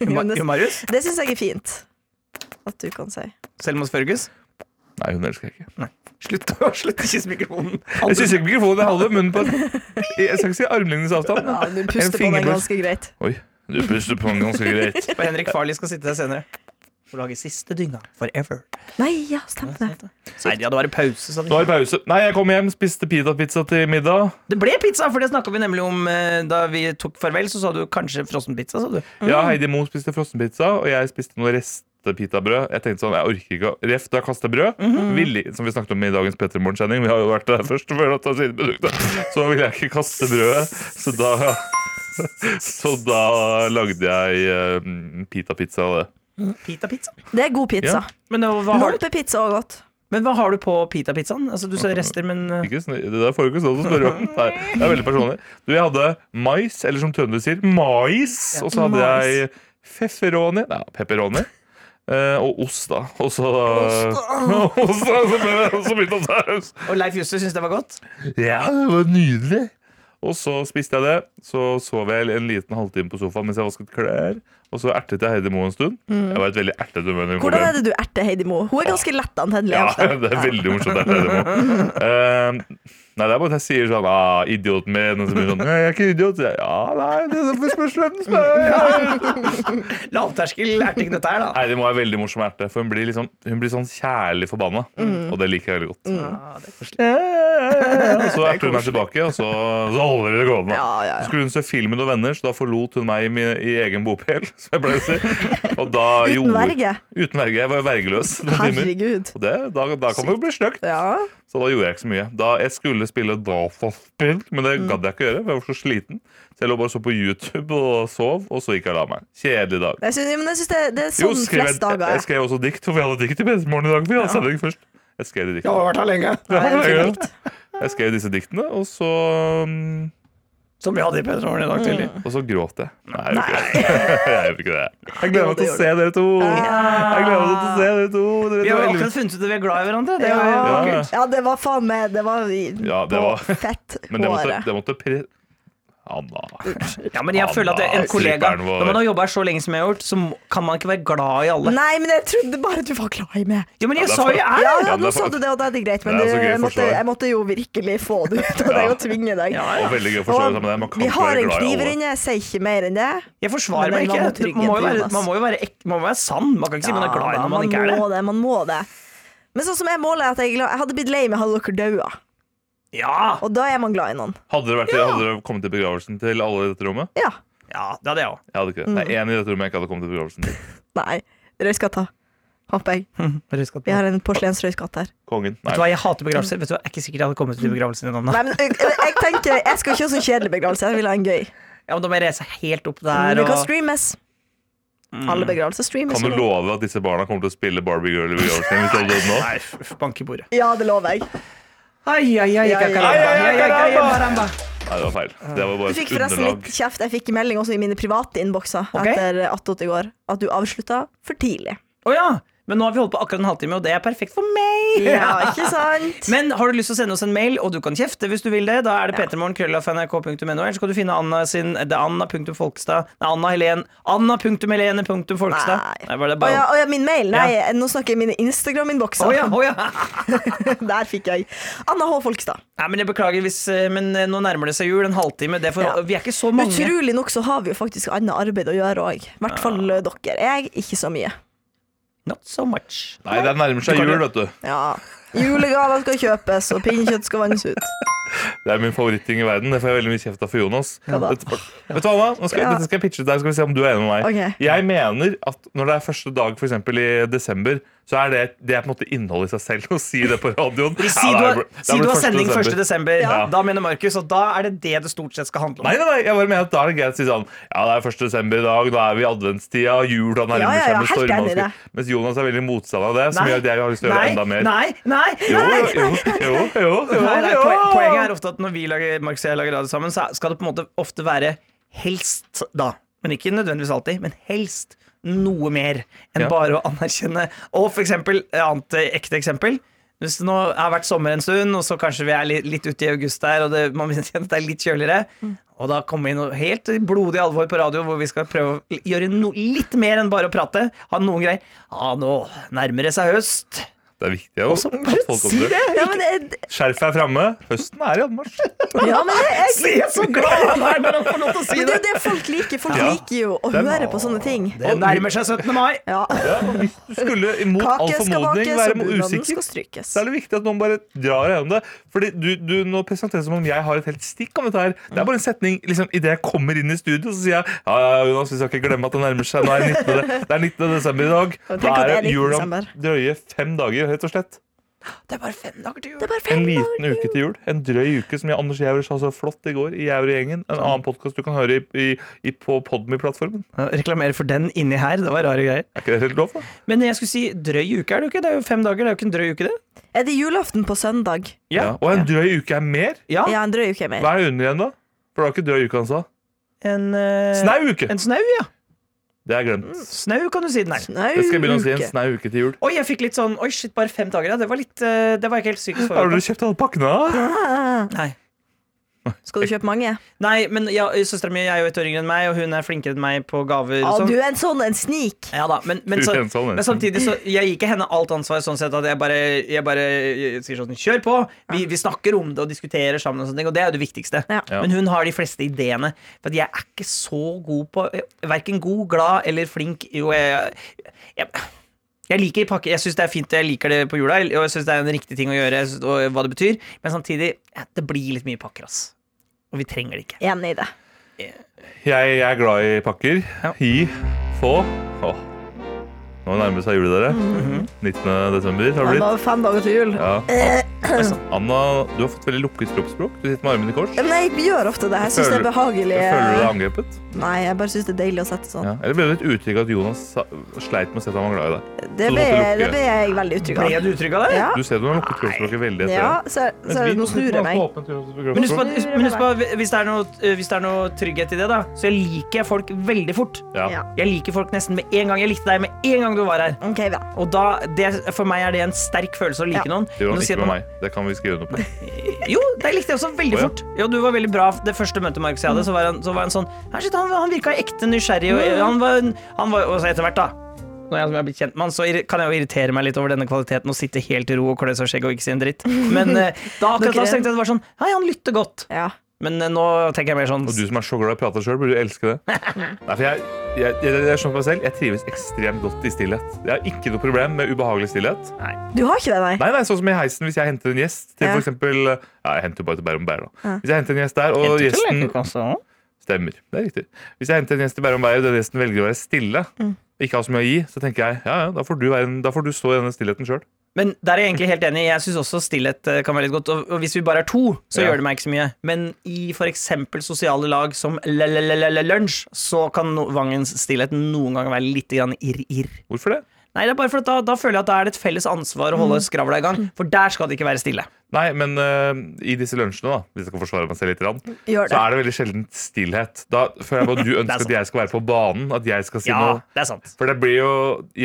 Jo, Ma-
Jonas.
jo, Marius.
Det syns jeg er fint. At du kan si.
Selmos Førgus.
Nei, hun elsker jeg ikke.
Slutt å slutt å kysse mikrofonen.
Jeg synes ikke mikrofonen jeg holder munnen på Jeg skal ikke si armlengdes avstand.
Ja,
men
du
en
puster på den
fingerpuss.
ganske greit.
Oi, du puster på den ganske greit.
Og Henrik Farley skal sitte der senere. Og lage siste dynga. Forever.
Nei, ja, stemmer det.
Nei, de hadde vært i pause. Så
Nå er det pause. Nei, jeg kom hjem, spiste pita-pizza til middag.
Det ble pizza, for det snakka vi nemlig om eh, da vi tok farvel. Så sa du kanskje frossenpizza, sa du.
Ja, Heidi Moe spiste frossenpizza, og jeg spiste noe restepitabrød. Jeg tenkte sånn, jeg orker ikke å Ref, da kaster jeg brød. Villig- som vi snakket om i dagens Petter Morgen-sending. Vi har jo vært der først og før å ta sine produkter. Så ville jeg ikke kaste brødet, så da Så da lagde jeg uh, pita-pizza av det.
Pita-pizza.
Det er god pizza.
Ja.
Men, eh, hva har du-
Lompepizza òg godt.
men hva har du på pita-pizzaen? Altså, du sa rester, men eh,
Ikke, sn- det der får du ikke sånn å spørre om. Nei, det er veldig personlig. Du, jeg hadde mais, eller som trøndere sier, mais. Og så hadde
mais.
jeg feferoni, nei, pepperoni. eh, og ost, da. Og så Ost, da! Så ble det også begynt å saus.
Og Leif Juster syntes det var godt?
Ja, det var nydelig. Og så spiste jeg det. Så sov jeg en liten halvtime på sofaen mens jeg vasket klær. Og så ertet jeg Heidi Moe en stund. Jeg var i et veldig ertet humør. når hun kom
Mm. Hvordan
hjem.
er det du erter Heidi Moe? Hun er ganske lettantennelig.
Ja,
ofte.
det er veldig morsomt. Det er det må. Eh, nei, det er bare at jeg sier sånn ah, 'Idioten min.' Og så blir det sånn 'Nei, jeg er ikke idiot.' Jeg, ja, nei, det er for spørsmål hvem som er
Lavterskel erting, dette her, da.
Nei, det må være veldig morsom erte, for hun blir, liksom, hun blir sånn kjærlig forbanna.
Mm.
Og det liker jeg veldig godt. Og så erter hun meg tilbake, og så, så holder vi det gående.
Ja, ja, ja.
Så skulle hun se film med noen venner, så da forlot hun meg i, min, i egen bopel. Som jeg pleier å si. Og da
Uten
gjorde-
verge.
Uten verge. Jeg var jo vergeløs. noen timer.
Herregud.
Og det, da, da kan det jo bli stygt.
Ja.
Så da gjorde jeg ikke så mye. Da jeg skulle spille dataspill, men det
Mm.
gadd jeg ikke gjøre. for Jeg var så sliten. Så jeg lå bare og så på YouTube og sov, og så gikk jeg og la meg. Kjedelig dag.
Jeg synes, men jeg syns det, det er
Jo,
sånn
skrev jeg,
flest
jeg,
dager
jeg
er.
skrev også dikt, for vi hadde dikt i Petermorgen i dag. for Vi hadde sending først. Jeg skrev de diktene.
har vært her lenge.
Ja, det er fint.
Jeg skrev disse diktene, og så, mm,
Som vi hadde i Petroljen i dag tidlig.
og så gråt jeg. Nei, jeg gjorde ikke det. Jeg, gjorde ikke det. jeg gleder
Jo, det
meg til å
gjorde
se dere to. Jeg gleder meg til å se dere to.
Vi har
Dere to er
jo
elleve-
akkurat funnet ut at vi er glad i hverandre. Det er jo
Ja.
Ja. ja, det var faen meg Det var, i-
Ja, det
på
var-
fett
Men det måtte,
håret.
det måtte pre... Anna.
Ja, men jeg føler at
Anna,
en kollega
superen vår.
Når man har jobba her så lenge som jeg har gjort, så må- kan man ikke være glad i alle.
Nei, men jeg trodde bare du var glad i meg.
Ja, men jeg
Ja, det er
sa jo jeg er
Ja,
det!
ja,
Ja,
nå
men det er
sa
for-
du det, og det er greit, men
Det er
du,
så gøy
jeg, måtte,
forsvar.
jeg måtte jo virkelig få det ut av deg
Ja.
og tvinge deg.
Ja,
Og
ja.
veldig gøy å forsvare seg med deg. Man
Og
kan
vi
ikke
har
være
en
glad i
kniv
alle.
inne, jeg sier ikke mer enn det.
Jeg forsvarer
Men
meg
det la
ikke. Man må jo
mot ryggen,
være,
Jonas.
man må jo være, ek, man må være sann. Man kan ikke si man er glad i
da,
når man ikke er
må
det.
det. Ah, Man må det. Men sånn som jeg måler er at jeg, er glad, jeg hadde blitt lei meg hadde dere daua.
Ja,
Og da er man glad i noen.
Hadde dere, vært, hadde dere kommet til begravelsen til alle i dette rommet?
Ja.
ja det hadde jeg òg.
Jeg hadde ikke det.
Mm.
Det er én i dette rommet jeg ikke hadde kommet til begravelsen til.
Nei. Røyskatta, håper jeg. Vi har en porselensrøyskatt her.
Kongen. Nei.
Vet du hva, jeg hater begravelser. Vet du hva, Jeg er ikke sikkert jeg hadde kommet til begravelsen din, Anna.
Nei, men jeg, jeg tenker Jeg skal ikke ha sånn kjedelig begravelse, jeg vil ha en gøy.
Ja, men da må jeg reise helt opp
Men
der
det kan
og
streames. Alle begravelser streames.
Kan du
jo.
love at disse barna kommer til å spille Barbie Girl i begravelsen din hvis du hadde dødd nå?
Nei, f- bank i bordet.
Ja, det lover jeg.
Ai, ai, ai,
Ja, ja,
kakaramba. Ai,
ja,
ai, ai, karamba.
Nei, det var feil. Det var bare
Du fikk
et
forresten
underlag.
litt kjeft. Jeg fikk melding også i mine private innbokser
Ok.
etter Attåt i går at du avslutta for tidlig.
Å ja. Men nå har vi holdt på akkurat en halvtime, og det er perfekt for meg.
Ja, ikke sant?
Men har du lyst til å sende oss en mail, og du kan kjefte hvis du vil det, da er det
Ja.
p3morgen.krøllalfa.nrk.no, eller så kan du finne Anna sin Det er Anna.folkstad Nei, Anna Helen Anna.helene.folkstad
Nei.
Nei, var det
Å
bare
ja, å ja, min mail? Nei, nå snakker jeg mine Instagram-innbokser.
Å ja, å ja.
Der fikk jeg. Anna H. Folkstad.
Nei, men jeg beklager hvis eh, Men eh, nå nærmer det seg jul, en halvtime. Det er for,
Ja.
Vi er ikke så mange.
Utrolig nok så har vi jo faktisk annet arbeid å gjøre òg. I hvert fall dere. Jeg ikke så mye.
Not so much.
Nei, det nærmer seg
Du kan
jul,
jo-
vet du.
Ja. Julegaver skal kjøpes, og pinnekjøtt skal vannes ut.
Det er min favoritting i verden. Det får jeg veldig mye kjeft av for Jonas.
Ja da.
Dette- Vet du hva, Anna? Nå skal,
Ja.
Dette skal jeg pitche til deg, så skal vi se om du er enig med meg.
Ok.
Jeg mener at når det er første dag for eksempel, i desember, så er det, det er på en måte innholdet i seg selv å si det på radioen.
Si du
Ja, det er
har,
bl- det er
si
bl-
du har
1.
sending 1.
desember.
desember.
Ja.
Da mener Markus, og da er det det det stort sett skal handle om.
Nei, nei, nei, jeg bare mener at da er det greit å si sånn Ja, det er 1. desember i dag, da er vi i adventstida, jula nærmer
Ja, ja,
seg
ja,
med
helt
stormer og
enig i det.
skrik. Mens Jonas er veldig motstander av det, som
Nei.
gjør at jeg har lyst til å gjøre
Nei.
enda mer.
Nei, nei,
Jo,
nei.
jo, jo, jo, jo,
Nei, nei,
jo.
poen- Poenget er ofte at når vi lager, Markus og jeg lager radio sammen, så skal det på en måte ofte være helst da. Men ikke nødvendigvis alltid, men helst noe mer enn
Ja.
bare å anerkjenne. Og for eksempel, et annet eh, ekte eksempel. Hvis det nå har vært sommer en stund, og så kanskje vi er litt, litt ute i august der, og det, man kjenner at det er litt kjøligere, og da kommer vi inn og- helt i blodig alvor på radio, hvor vi skal prøve å l- gjøre no, litt mer enn bare å prate, ha noen greier. Ja, nå nærmer det seg høst.
Det er viktig å
Så
at folk
si
kommer
det!
Ja, men jeg,
Skjerf er framme. Høsten er i anmarsj.
ja, men jeg, jeg
Se så glad han er når han får lov til å si
men det er jo det folk liker. Folk
Ja.
liker jo å
Den-
høre på sånne ting.
Det nærmer seg 17. mai.
Ja.
Ja, og hvis du skulle imot all
Kake skal
formodning
bakes,
være
og bunaden
usikker,
skal strykes.
så er det viktig at noen bare drar gjennom det. Fordi du, du Nå presenteres det som om jeg har et helt stikk om dette her. Det er bare en setning liksom, idet jeg kommer inn i studio, så sier jeg ja, ja, Jonas, vi skal ikke glemme at det nærmer seg. Nå er det 19. de- Det er 19. desember i dag.
Og tenk
Da
at det
er
er
det
19.
jul om
desember.
drøye fem dager, rett og slett.
Det er bare fem dager til
Det
jul.
er bare fem
En
dager.
liten uke til jul. En drøy uke, som jeg, Anders Jæver sa så flott i går i Jævergjengen. En annen podkast du kan høre i, i, i, på Podme-plattformen.
Reklamere for den inni her, det var rare greier.
Er ikke det helt lov? da?
Men jeg skulle si drøy uke, er det jo ikke? Det er jo fem dager, det er jo ikke en drøy uke, det.
Er det julaften på søndag?
Ja.
Og en drøy uke er mer.
Ja,
Ja, en drøy uke er mer.
Hva er det under igjen, da? For det var ikke drøy uke han sa.
en eh,
Snau uke!
En snau, ja.
Det er glemt.
Snau kan du si den er.
Snau
Jeg skal begynne å si en
uke.
snau uke til jul.
Oi, jeg fikk litt sånn Oi, shit, bare fem dager, ja. Det var litt eh, Det var jeg ikke helt psykisk
Har dere
forberedt på.
kjøpt alle pakkene? da?
Ah,
Nei.
Skal du kjøpe mange?
Nei, men ja, søstera mi er jo et år yngre enn meg, og hun er flinkere enn meg på gaver.
Å,
og
du
sånn.
er en sånn en snik.
Ja da, men, men, så,
Du er en sånn en.
men samtidig så Jeg gir ikke henne alt ansvar sånn sett at jeg bare, jeg bare sier sånn Kjør på! Vi, vi snakker om det og diskuterer sammen, og sånne ting Og det er jo det viktigste.
Ja.
Ja.
Men hun har de fleste ideene. For at jeg er ikke så god på Verken god, glad eller flink. Jo, jeg, jeg, jeg liker pakke Jeg syns det er fint, jeg liker det på jula, og jeg syns det er en riktig ting å gjøre, jeg synes- og hva det betyr, men samtidig ja, Det blir litt mye pakker, ass. Og vi trenger det ikke.
Enig i det.
Jeg, jeg er glad i pakker.
Ja.
Gi, få Åh. Nå nærmer det seg jul, dere.
Mhm.
19. desember har det
Det
blitt.
var fem dager til jul.
Ja. sånn. Anna, du har fått veldig lukket kroppsspråk. Du sitter med armene i kors.
Men jeg gjør ofte det. Jeg syns det er
Føler-
behagelig.
Føler du deg angrepet?
Nei, jeg bare syns det er deilig å sette sånn.
Ja. Eller ble du litt utrygg av at Jonas sa- sleit med å se at han var glad i deg?
Det
Så du
ble,
måtte lukke.
det ble jeg veldig utrygg
Ble
av.
du utrygg av det?
Ja,
Du ser du har lukket kroppsspråket veldig etter
ja
det.
så,
Mens
så
vi
nå snur
to sitter
jeg
med
meg.
alt åpent kroppsspråk.
Men husk på, at- men husk på at hvis, det er noe, eh, hvis det er noe trygghet i det, da, så liker jeg folk veldig fort.
Ja.
Ja.
Jeg liker folk nesten med en gang. Jeg likte deg med en gang du var her.
OK, ja.
Og da, det, For meg er det en sterk følelse å like
Ja.
noen.
Det gjorde
Men
han
å si at
ikke med
man-
meg. Det kan vi skrive under på.
Jo, det likte jeg også veldig
Å, ja.
fort. Jo, du var veldig bra Det første møtet Markus jeg hadde, så var han, så var han sånn «Her, shit, han, han virka ekte nysgjerrig, og han var, han var Og så etter hvert, da. Når jeg som jeg har blitt kjent med han, så irri- kan jeg jo irritere meg litt over denne kvaliteten og sitte helt i ro og klø seg i skjegget og ikke si en dritt. Men eh, da akkurat da så tenkte jeg det var sånn Hei, han lytter godt.
Ja.
Men eh, nå tenker jeg mer sånn
Og du som er så glad i å prate sjøl, burde jo elske det. Nei, for jeg, jeg, jeg, jeg skjønner på meg selv, jeg trives ekstremt godt i stillhet. Jeg har ikke noe problem med ubehagelig stillhet.
Du har ikke det, nei?
Nei, nei, sånn som i heisen Hvis jeg henter en gjest til
Ja.
for eksempel Ja, jeg henter jo bare til Bærum Bær, da.
Ja.
Hvis jeg henter en gjest der, og
Henter til
gjesten
lekekassa også.
Stemmer. Det er riktig. Hvis jeg henter en gjest til Bærum Bær, og den gjesten velger å være stille, og ikke ha så mye å gi, så tenker jeg ja, ja, da får du, være, en- da får du stå i denne stillheten sjøl.
Men der er jeg egentlig helt enig. Jeg syns også stillhet eh, kan være litt godt. Og og hvis vi bare er to, så
Ja.
gjør det meg ikke så mye. Men i f.eks. sosiale lag som l-l-l-lunsj, så kan no Vangens stillhet noen ganger være litt grann irr-irr.
Hvorfor det?
Nei, det er bare for at da, da føler jeg at da er det et felles ansvar å holde skravla i gang. For der skal det ikke være stille.
Nei, men eh, i disse lunsjene, da, hvis jeg kan forsvare meg selv litt, rann,
Gjør
så
det.
er det veldig sjelden stillhet. Da føler jeg bare at du ønsker
sant.
at jeg skal være på banen, at jeg skal si
Ja,
noe.
det er sant.
For det blir jo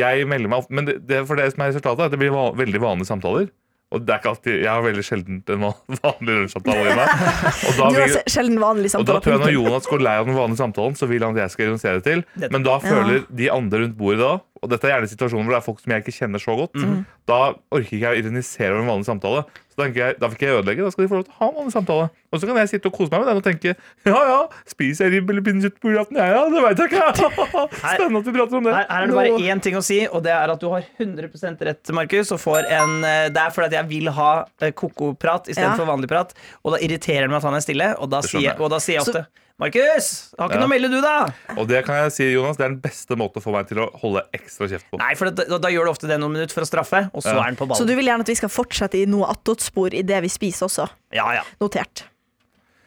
Jeg melder meg opp, men det, det, for det som er resultatet, er at det blir va veldig vanlige samtaler. Og det er ikke alltid Jeg har veldig sjelden en van- vanlig lunsjsamtale i meg. Og da,
Du har
blir,
se- sjelden vanlig
og da
samtale.
tror jeg når Jonas går lei av den vanlige samtalen, så vil han at jeg skal redusere det til. Men da føler de andre rundt bordet da og dette er gjerne situasjoner hvor det er folk som jeg ikke kjenner så godt.
Mhm.
Da orker ikke jeg å ironisere over en vanlig samtale. Så tenker jeg, Da vil ikke jeg ødelegge. Da skal de få lov til å ha en vanlig samtale. Og så kan jeg sitte og kose meg med den og tenke ja ja, spiser jeg ribbe eller pinnekjøtt på julaften? Ja ja, det veit jeg ikke. Spennende at vi prater om det.
Her, her er det
Nå-
bare én ting å si, og det er at du har 100 rett, Markus. Og får en, eh, det er fordi at jeg vil ha eh, ko-ko-prat
Ja.
istedenfor for vanlig prat. Og da irriterer det meg at han er stille, og da,
Det
sier,
skjønner jeg.
og da sier jeg ofte Markus, har ikke
Ja.
noe å melde du, da?
Og det kan jeg si, Jonas, det er den beste måten å få meg til å holde ekstra kjeft på.
Nei, for da, da, da gjør du ofte det noen minutter for å straffe, og så
Ja.
er han på
Så
ballen.
du vil gjerne at vi skal fortsette i noe attåtspor i det vi spiser også.
Ja, ja.
Notert.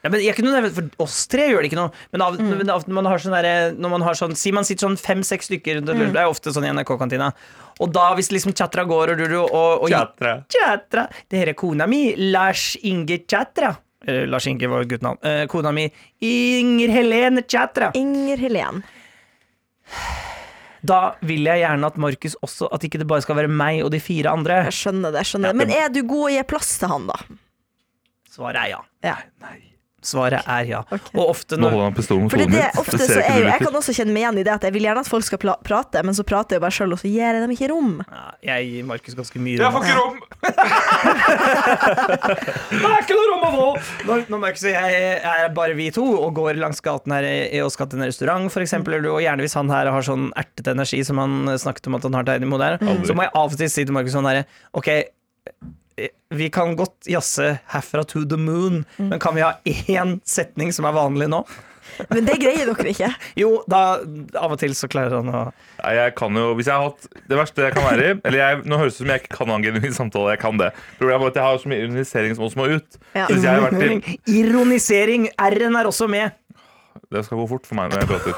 Ja, men jeg kunne nevnt, for oss tre gjør det ikke noe, men av, men av, man har sånn derre- når man har sånn Si man sitter sånn fem-seks stykker rundt et lunsj, det er jo ofte sånn i NRK-kantina, og da hvis liksom chatra går og du, du og, og
Tjatre.
Chatra. Det her er kona mi, Lars Inge Chatra. Eh, Lars Inge var et guttenavn. Eh, kona mi, Inger Helene Chatra.
Inger Helen.
Da vil jeg gjerne at Markus også At ikke det bare skal være meg og de fire andre.
Jeg skjønner det. jeg skjønner det Men er du god i å gi plass til han, da?
Svaret er ja.
Ja.
Svaret er ja.
Ok.
Og ofte
Nå
når
holder han pistolen mot
For
hodet
det,
mitt.
er ofte
Det ser
så
ikke
er jo,
du
jeg
liker.
kan også kjenne meg igjen i det at jeg vil gjerne at folk skal pla- prate, men så prater jeg jo bare sjøl, og så gir jeg dem ikke rom.
ja, Jeg gir Markus ganske mye
Jeg
rom.
får ikke rom!
Det er ikke noe rom å få! Når, når Markus og jeg er bare vi to og går langs gaten her i- og skal til en restaurant, for eksempel, eller- og gjerne hvis han her har sånn ertete energi som han eh, snakket om at han har til Einimo der,
Aldri.
så må jeg av og til si til Markus sånn herre Ok, eh, vi kan godt jazze herfra to the moon, men kan vi ha én setning som er vanlig nå?
Men det greier dere ikke.
Jo, da Av og til så klarer han å
Nei, jeg kan jo, hvis jeg har hatt Det verste jeg kan være i Eller jeg, nå høres det ut som jeg ikke kan ha en genuin samtale. Jeg kan det. Problemet er bare at jeg har så mye ironisering som også må ut.
Ja.
Så hvis jeg har vært i
Ironisering! R-en er også med.
Det skal gå fort for meg når jeg prater.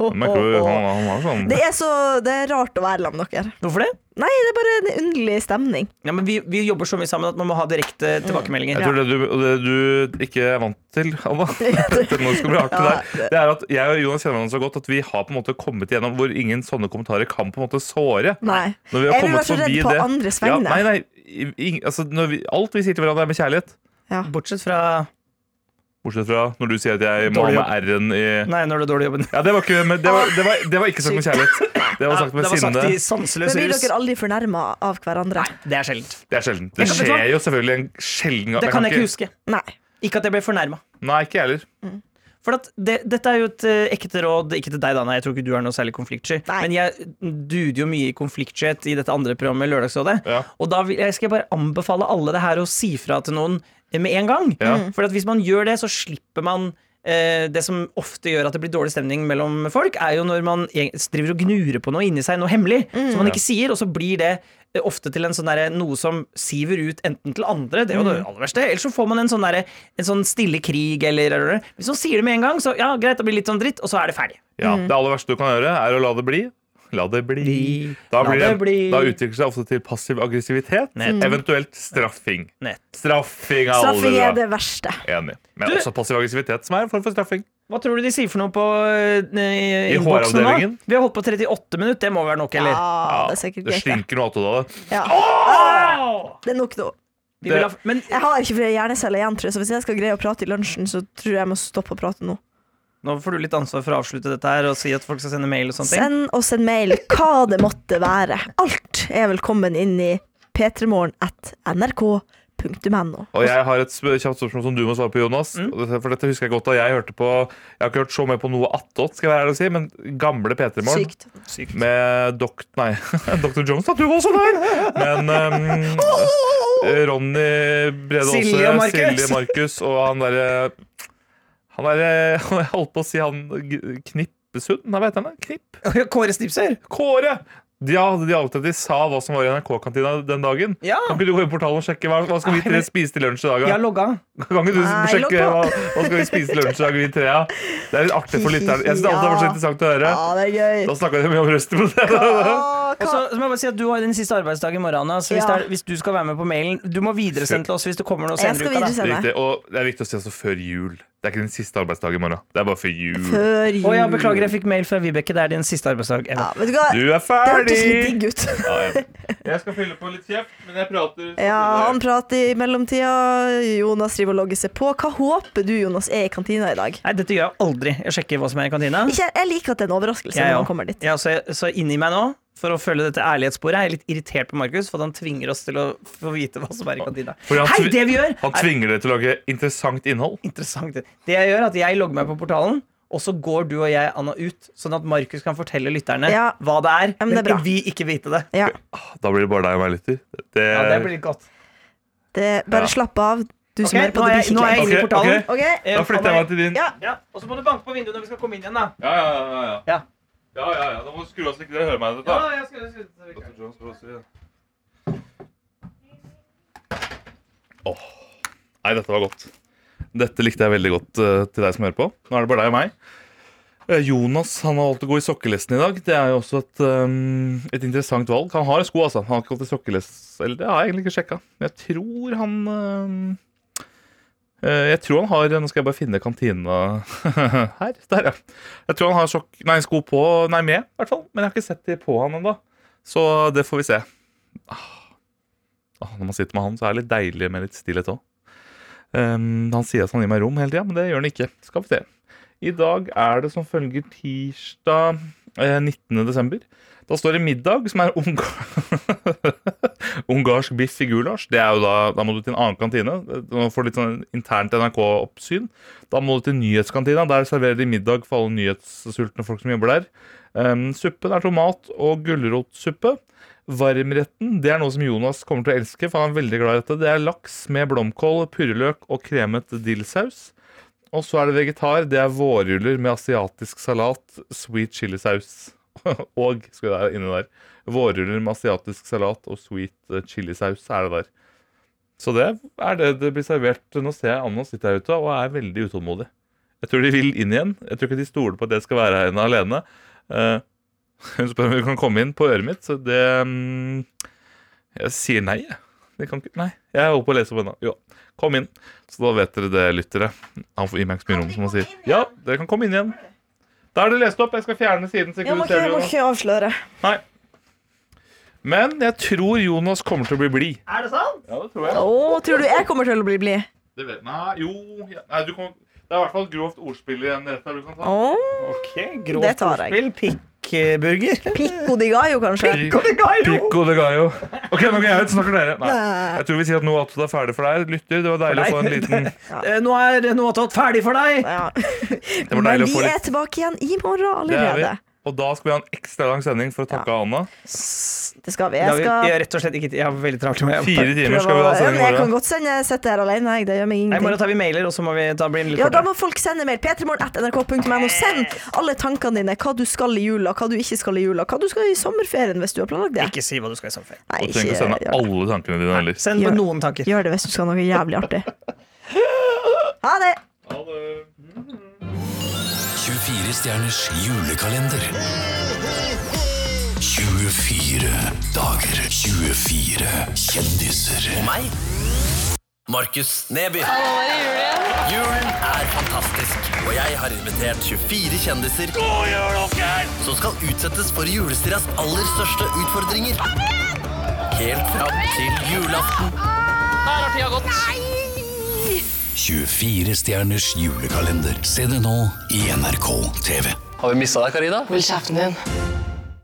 Jeg merker jo, han, han har sånn
Det er så det er rart å være sammen med dere.
Hvorfor det?
Nei, det er bare en underlig stemning.
Ja, men vi, vi jobber så mye sammen at man må ha direkte
Mm.
tilbakemeldinger.
Jeg tror det du, og det du ikke er vant til, Anna, dette nå skal bli hardt til deg, det er at jeg og Jonas kjenner hverandre så godt at vi har på en måte kommet igjennom hvor ingen sånne kommentarer kan på en måte såre.
Nei.
Når vi
Jeg
har
vil
kommet
være så redd
forbi
på
det-
andres
Ja,
vegne.
nei, nei, i- ing- altså, når vi, alt vi sier til hverandre, er med kjærlighet.
Bortsett fra
Bortsett fra når du sier at jeg må ha
Dårlig
med R-en i
Nei, når du er dårlig i jobben.
Ja, det var ikke men det var, det var, det var ikke sagt med kjærlighet. Det var sagt med
det var sagt i
sinne.
sanseløs
Men blir
rus.
dere aldri fornærma av hverandre?
Det er sjeldent.
Det er sjelden. Det
Jeg kan- vet du hva?
skjer jo selvfølgelig en sjelden gang.
Det kan jeg ikke huske.
Nei.
Ikke at jeg ble fornærma.
Nei, ikke jeg heller.
For at det, dette er jo et eh, ekte råd, ikke til deg, Dana, jeg tror ikke du er noe særlig konfliktsky,
Nei.
men jeg duder jo mye i konfliktskyhet i dette andre programmet, Lørdagsrådet,
Ja.
og da vil, jeg skal jeg bare anbefale alle det her å si fra til noen eh, med en gang.
Ja.
For at hvis man gjør det, så slipper man eh, det som ofte gjør at det blir dårlig stemning mellom folk, er jo når man eg- driver og gnurer på noe inni seg, noe hemmelig, som man ikke sier, og så blir det eh, ofte til en sånn derre noe som siver ut enten til andre, det er jo det aller verste, eller så får man en sånn derre en sånn stille krig, eller, eller, eller Hvis man sier det med en gang, så ja, greit, det blir litt sånn dritt, og så er det ferdig.
Ja, Det aller verste du kan gjøre, er å la det bli. La det bli.
Bli.
Da,
La
blir
det
det,
bli.
da utvikler det seg ofte til passiv aggressivitet.
Nett. Mm.
Eventuelt straffing.
Nett.
Straffing er
Straffing
aldri bra.
er det verste.
Enig. Men
Du-
også passiv aggressivitet, som er en form for straffing.
Hva tror du de sier for noe på eh,
I
innboksen nå?
HR-avdelingen?
Vi har holdt på 38 minutter, det må være nok, eller?
Ja, det er sikkert
Det
greit.
slinker noe attåt av det.
Ja.
Au!
Det er nok nå.
Ah! Vi vil ha,
Det-
men
Jeg har ikke flere hjerneceller igjen, tror jeg, så hvis jeg skal greie å prate i lunsjen, så tror jeg jeg må stoppe å prate nå.
nå får du litt ansvar for å avslutte dette her og si at folk skal sende mail og sånne ting.
Send oss en mail hva det måtte være. Alt er velkommen inn i p3morgen at nrk.no.
Og jeg har et sp- kjapt spørsmål som du må svare på, Jonas.
Mm.
Og dette- For dette husker jeg godt da jeg hørte på Jeg har ikke hørt så mye på noe attåt, skal jeg være ærlig og si, men gamle P3 Morgen
Sykt.
med dokt... Nei, Dr. Jones, da. Du var også der! Men ehm, eh, Ronny Brede Aase,
Silje og Markus.
Silje Markus og han derre Han derre Jeg holdt på å si han G- Knippesund? Nei, hva heter han? da? Knipp?
Eh, Kåre Snipser!
Kåre! De hadde de avtalt at de sa hva som var i NRK-kantina den dagen.
Ja!
Kan ikke du gå inn i portalen og sjekke hva, hva skal vi tre spise til lunsj i dag?
Jeg
da?
har logga.
Kan ikke du
Nei,
sjekke
logg
hva,
på.
hva skal vi spise til lunsj i dag, vi tre? ja? Det er litt artig for lytterne. Jeg synes det alltid har vært så interessant å høre.
Ja, det er gøy.
Da snakka de mye om røsten på det.
Å,
Og
hva-
så så må jeg bare si at Du har din siste arbeidsdag i morgen. Anna, Så hvis,
Ja.
det er, hvis du skal være med på mailen Du må videresende til oss hvis det kommer noe
Jeg
senere i
skal
uka. da.
videresende.
Riktig. Og det er viktig å si altså før jul. Det er ikke den siste arbeidsdagen i morgen. Det er bare før jul.
Før jul.
Å ja, beklager, jeg fikk mail fra Vibeke. Det er din siste arbeidsdag. ever.
Ja, vet du hva?
Du er
Det hørtes litt
ferdig!
digg ut.
Ja, ja. Jeg skal fylle på litt kjeft, men jeg prater.
Ja, han prater i mellomtida. Jonas driver og logger seg på. Hva håper du, Jonas, er i kantina i dag?
Nei, dette gjør jeg aldri. Jeg sjekker hva som er i kantina.
Ikke, jeg liker at det er en overraskelse
Jeg
når
òg.
man kommer dit.
Ja, så, jeg, så inni meg nå, for å følge dette ærlighetssporet, er jeg litt irritert på Markus for at han tvinger oss til å få vite hva som er i kantina.
Fordi han
Hei,
tvi-
det vi gjør,
Han
er
tvinger deg til å lage interessant innhold.
interessant. Det jeg gjør, er at jeg logger meg på portalen. Og så går du og jeg, Anna, ut, sånn at Markus kan fortelle lytterne
Ja.
hva det er.
men
men
det er bra.
vi ikke vite det.
Ja,
Da blir det bare deg og meg lytter. Det,
Ja, det blir litt godt.
det, bare
Ja.
slapp av, du som
Ok,
hører på.
nå er
Det
jeg- nå er
blir
jeg
ikke
inne i
Ok,
portalen.
ok.
kleint. Ok?
Eh,
Da flytter jeg meg til din.
Ja.
Ja, Og så må du banke på vinduet når vi skal komme inn igjen, da.
Ja, ja, ja. ja.
Ja.
ja, ja, ja. Da må du skru av så ikke dere hører meg.
Ja,
Dette.
jeg skal, jeg skal, jeg skal.
Dr. Jones prøver å si det. Åh. Nei, dette var godt. Dette likte jeg veldig godt eh, til deg som hører på. Nå er det bare deg og meg. Eh, Jonas han har valgt å gå i sokkelesten i dag. Det er jo også et, eh, et interessant valg. Han har sko, altså. Han har ikke gått i sokkelest Eller det har jeg egentlig ikke sjekka. Men jeg tror han eh, eh, Jeg tror han har Nå skal jeg bare finne kantina her. Der, ja. Jeg tror han har sokk, nei, sko på Nei, med, i hvert fall. Men jeg har ikke sett de på han ennå. Så det får vi se. Ah, når man sitter med han, så er det litt deilig med litt stillhet òg. han sier at han gir meg rom hele tida, men det gjør han ikke. Skal vi se. I dag er det som følger tirsdag eh, 19. desember. Da står det middag, som er ungar- ungarsk biff i gulasj. Det er jo da, da må du til en annen kantine. Du får litt sånn internt NRK-oppsyn. Da må du til nyhetskantina. Der serverer de middag for alle nyhetssultne folk som jobber der. Um, suppen er tomat- og gulrotsuppe. Varmretten det er noe som Jonas kommer til å elske, for han er veldig glad i dette. Det er laks med blomkål, purreløk og kremet dillsaus. Og så er det vegetar. Det er vårruller med asiatisk salat, sweet chilisaus og skal det være inne der. Vårruller med asiatisk salat og sweet eh, chilisaus er det der. Så det er det det blir servert. Nå ser jeg Anna sitter her ute og er veldig utålmodig. Jeg tror de vil inn igjen. Jeg tror ikke de stoler på at jeg skal være her inne alene. Eh, hun spør om vi kan komme inn på øret mitt, så det mm, Jeg sier nei, jeg. Det kan ikke, nei. Jeg holder på å lese opp ennå. Jo, kom inn. Så da vet dere det, lyttere. Han får gi meg ikke så mye rom, som han sier. Ja, dere kan komme inn igjen. Da er det lest opp. Jeg skal fjerne siden. så ikke
Jeg må
du
ikke,
ser det,
jeg må
Jonas.
ikke avsløre.
Nei. Men jeg tror Jonas kommer til å bli blid.
Er det sant?
Ja, det tror
Å, tror du jeg kommer til å bli blid?
Det vet, nei, jo ja, nei, du kan, Det er i hvert fall grovt ordspill i den retta du kan ta.
Å,
Ok,
Det
Grovt
tar jeg.
ordspill. Pikkburger.
Pico di Gallo, kanskje?
Pico de gallo. Ok, nå går jeg ut, snakker dere. Nei.
Nei.
Jeg tror vi sier at noe attåt er ferdig for deg. Lytter, det var deilig å få en liten
Eh, Nå er noe tatt ferdig for deg!
Ja.
var
Men
deilig å
vi
få litt-
er tilbake igjen i morgen
Det er vi.
allerede.
Og da skal vi ha en ekstra lang sending for å takke Anna.
Det skal vi.
Jeg, jeg,
Jeg skal
rett og slett ikke, jeg har veldig travelt med
Fire timer skal
prøve
vi
å
ha
Ja,
sending
men
i
Jeg kan
morgen.
godt sende jeg sitter her alene, jeg. Det gjør meg
Nei, I
ingenting.
morgen tar vi mailer, og så må vi ta bli litt
Ja, da
kortere.
må folk sende mail. P3morgen.nrk.no. Send alle tankene dine. Hva du skal i jula, hva du ikke skal i jula, hva du skal i sommerferien hvis du har planlagt det.
Ikke si hva du skal i sommerferie.
Nei,
Du trenger
gjør
ikke å sende
det.
alle tankene dine heller.
Send
Gjør-
noen tanker.
Gjør det hvis du skal ha noe jævlig artig. Ha det!
24 stjerners julekalender. 24 dager. 24 kjendiser. Og meg. Markus Neby. Julen er fantastisk, og jeg har invitert 24 kjendiser som skal utsettes for julestras aller største utfordringer. Helt fram til julaften.
tida gått.
24 stjerners julekalender. Se det nå i NRK TV. Har vi mista deg, Karina?
Hold kjeften din.